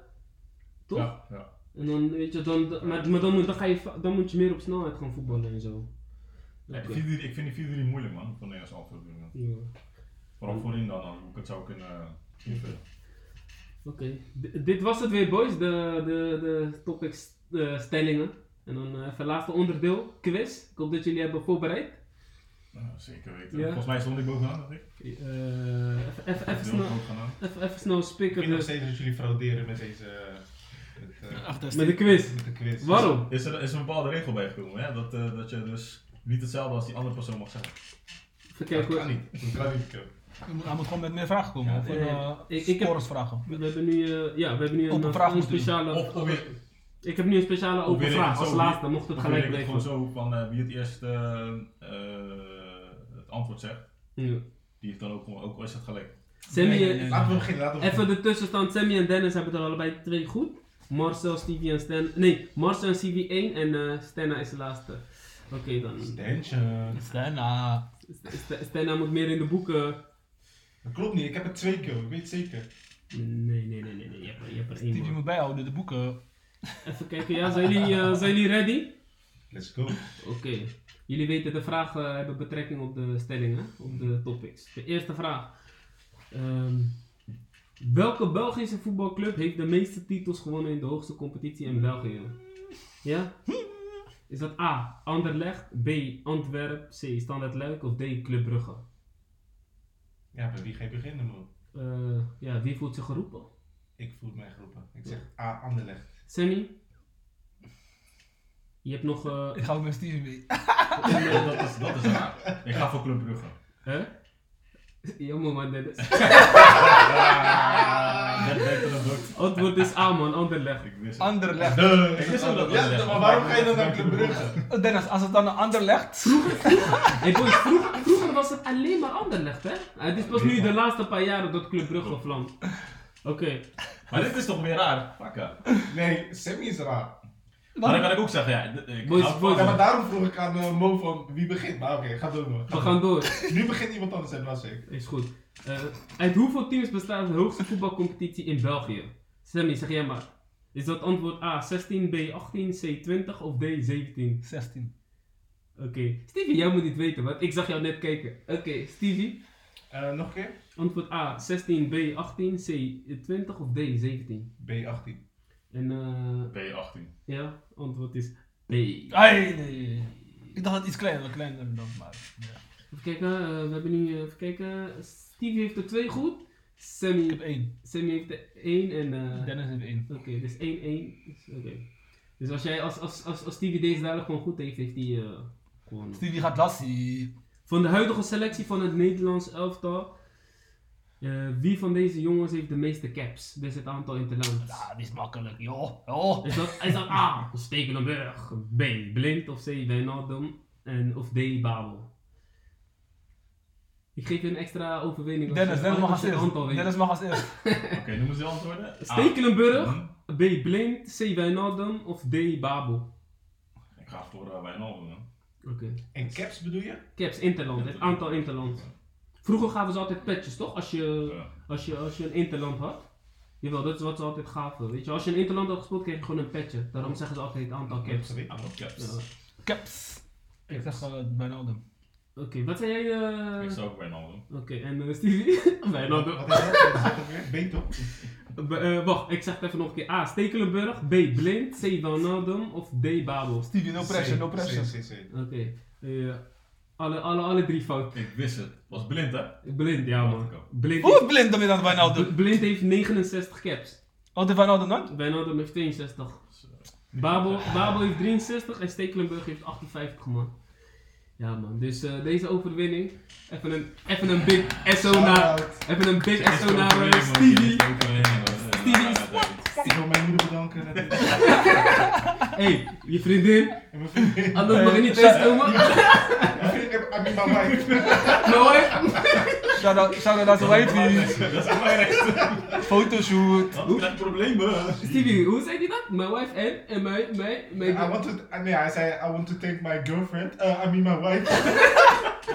Toch? Ja, ja. En dan, weet je, dan, dan- maar, maar dan, moet- dan, ga je, va- dan moet je meer op snelheid gaan voetballen en zo. Ja, die Oké. 4-3 ik vind die 4-3 moeilijk man, van Nederlands antwoord. Ja. Vooral voorin dan, als ik het zou kunnen eh, invullen. Oké, D- dit was het weer boys, de, de, de topic st- eh, stellingen. En dan eh, even het laatste onderdeel, quiz. Ik hoop dat jullie hebben voorbereid. Nou, zeker weten. Ja. Volgens mij stond ik bovenaan, dacht ik. Eh, even, even, even, Ik wil snel, bovenaan. even, even snel Ik spikken dus vind nog de- steeds dat jullie frauderen met deze. Met, eh, Achter met de Stanks. quiz. met de quiz. Ah. Waarom? Is er, is er een bepaalde regel bijgekomen, hè? Dat, eh, dat je dus niet hetzelfde als die andere persoon mag zeggen. Even Dat kijken kan hoor. niet. Dat kan niet. Hij moet- Hij moet gewoon met meer vragen komen, Ja, of eh, eh, ik- ik heb- scoresvragen. We hebben nu, eh, ja, we hebben nu een, Open vraag een moeten doen. speciale... Of, of, weer- ik heb nu een speciale of weer open ik vraag het als zo- laatste, mocht het of gelijk weer ik het blijven. gewoon zo van eh, wie het eerst eh, eh, het antwoord zegt, Ja. die heeft dan ook gewoon, ook al is het gelijk. Sammy, Nee, nee, eh, nee. Laten we beginnen. Laten we Even beginnen. de tussenstand. Sammy en Dennis hebben het er allebei twee goed. Marcel, Stevie en Stan. Nee, Marcel en Stevie 1 en eh Stenna is de laatste. Oké dan. Stentje. Stenna. St- Stenna moet meer in de boeken. Dat klopt niet. Ik heb het twee keer. Ik weet het zeker. Nee, nee, nee, nee, nee. Je hebt er, je hebt er één. Die man. moet bijhouden, de boeken. Even kijken, ja, zijn jullie, eh, zijn jullie ready? Let's go. Oké. Jullie weten, de vragen eh, hebben betrekking op de stellingen, op de topics. De eerste vraag. Ehm, welke Belgische voetbalclub heeft de meeste titels gewonnen in de hoogste competitie in België? Ja? Is dat A. Anderlecht, B. Antwerp, C. Standard Luik of D. Club Brugge? Ja, bij wie ga je beginnen, man? Eh, ja, wie voelt zich geroepen? Ik voel mij geroepen. Ik zeg A. Anderlecht. Sammy? Je hebt nog... eh, Ik ga ook met Steven mee. Nee, dat, is, dat is raar. Ik ga voor Club Brugge. hè? Jammer man, Dennis. Dat lijkt er een druk. Antwoord is A man, Anderlecht. Ik wist het. Ander legt. Ik wist wel dat Ja, maar waarom ga je dan naar Club Brugge? Eh, Dennis, als het dan een ander legt. Hey boys, vroeg- vroeger was het alleen maar Anderlecht, hè? Het is pas nu de laatste paar jaren dat Club Brugge vlamt. Oké, Maar dit is toch weer raar? Fuck ja. Nee, Sammy is raar. Maar dan kan ik ook zeggen, ja. d- Ik Boys, hou boys. Ja, van- maar daarom vroeg ik aan eh, Mo van wie begint. Maar oké, ga door, man. we gaan door. Nu begint iemand anders, en was ik. Is goed. Eh, uit hoeveel teams bestaat de hoogste voetbalcompetitie in België? Sammy, zeg jij maar. Is dat antwoord A 16, B 18, C 20 of D 17? 16. Oké, Stevie, jij moet dit weten, want ik zag jou net kijken. Oké, Stevie, Eh, nog een keer? antwoord A 16, B 18, C 20 of D 17? B18. En eh, B18. ja, antwoord is B. Ai, nee, nee, nee. Ik dacht dat het iets kleiner, kleiner dan, maar... ja. Even kijken, eh, we hebben nu, eh, even kijken, Stevie heeft er twee goed. Ik heb Sammy, één. Sammy heeft er één en... eh, Dennis heeft één. Oké, dus 1-1. is- Oké. Dus als, jij, als, als, als, als Stevie deze dadelijk gewoon goed heeft, heeft hij eh, gewoon... Stevie gaat lassie. Van de huidige selectie van het Nederlands elftal, eh, wie van deze jongens heeft de meeste caps? Dus het aantal interlands. Ja, die is makkelijk, joh. joh. Is dat, is dat ah, A, Stekelenburg, B, Blind of C, Wijnaldum, nou en, of D, Babel? Ik geef je een extra overwinning als Dennis, je- Dennis mag als als je het eerst. aantal weet. Dennis mag als eerst. Oké, noemen ze de antwoorden. A. Stekelenburg, Hm. B, Blind, C, Wijnaldum nou of D, Babel? Ik ga voor uh, Wijnaldum, man. Oké. En caps bedoel je? Caps, Interland, het aantal Interland. Vroeger gaven ze altijd petjes, toch? Als je, Ja. als je, als je een Interland had. Jawel, dat is wat ze altijd gaven. Weet je, als je een Interland had gespeeld, kreeg je gewoon een petje. Daarom zeggen ze altijd het aantal Ik heb het caps. geweten. Ah, op caps. Ja. Caps. Ik zeg gewoon Wijnaldum. Oké, wat zei jij? eh, Ik zou ook Wijnaldum. Oké, en eh, Stevie? Wij Wat nou, wat is dat? Wat is dat ook weer? B toch? B- eh, wacht, ik zeg het even nog een keer. A. Stekelenburg. B. Blind. C. Wijnaldum. Of D. Babel. Stevie, no pressure, C, no pressure. C, C, C. Oké. eh, alle, alle, alle drie fout. Ik wist het. Was blind, hè? Blind, ja man. Blind, Hoe blind dan weer aan Wijnaldum? heeft, blind heeft 69 caps. Wat heeft Wijnaldum dan? Wijnaldum heeft 62. Babel, Babel heeft 63 en Stekelenburg heeft 58, man. Ja, man. Dus eh, deze overwinning. Even een, even een big SO naar. Shout-out. Even een big Echt SO zo'n naar eh, overwinning, man. Stevie. Echt zo'n overwinning, man. Stevie is- Ja, duidelijk. Ik wil mijn moeder bedanken. dat dit- hey, je vriendin. En mijn vriendin. Anders mag Ah, je niet eens komen. Mijn vriendin, ik heb I mean my wife. Nooit. Shout-out shout-out naar zijn wife. Dat is het belangrijkste. Fotoshoot. Anders krijg je problemen. Stevie, hoe zei die dat? My wife en, en mijn, mijn, mijn... I want to, nee, hij zei, I want to thank my girlfriend. Uh, I mean my wife.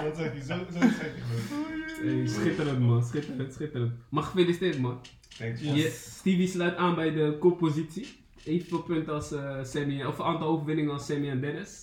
Dat zei hij, zo, zo zei hij. gewoon. Hey, schitterend, man. Schitterend, schitterend. Mag gefeliciteerd, man. Thanks, man. Je- Stevie sluit aan bij de koppositie. Evenveel punten als eh, Sammy, of een aantal overwinningen als Sammy en Dennis.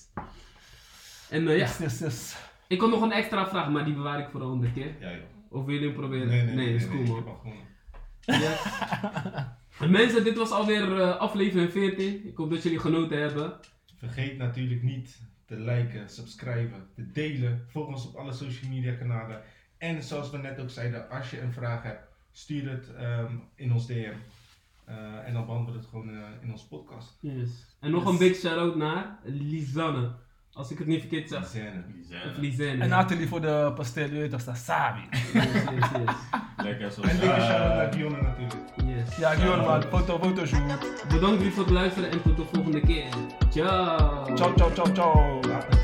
En eh, ja, Yes, yes, yes. ik had nog een extra vraag, maar die bewaar ik voor de andere keer. Ja, joh. Of wil je hem proberen? Nee, nee, nee. is nee, cool nee, ik heb man. al gewonnen. Ja. Mensen, dit was alweer eh, aflevering 14. Ik hoop dat jullie genoten hebben. Vergeet natuurlijk niet te liken, subscriben, te delen. Volg ons op alle social media kanalen. En zoals we net ook zeiden, als je een vraag hebt, stuur het ehm, in ons DM. Eh, en dan behandelen we het gewoon eh, in onze podcast. Yes. En nog een big shout-out naar Lisanne. Als ik het niet verkeerd zeg. Zene. Die Of zijn Lisanne. En Nathalie voor de pastel, je weet toch, Sasabi. Yes, yes, yes. lekker zoals... En dikke Ah. shout-out naar Dionne natuurlijk. yes. Ja, Gion man, foto, fotoshoot. Bedankt weer voor het luisteren en tot de volgende keer. Ciao. Ciao, ciao, ciao, ciao. Later.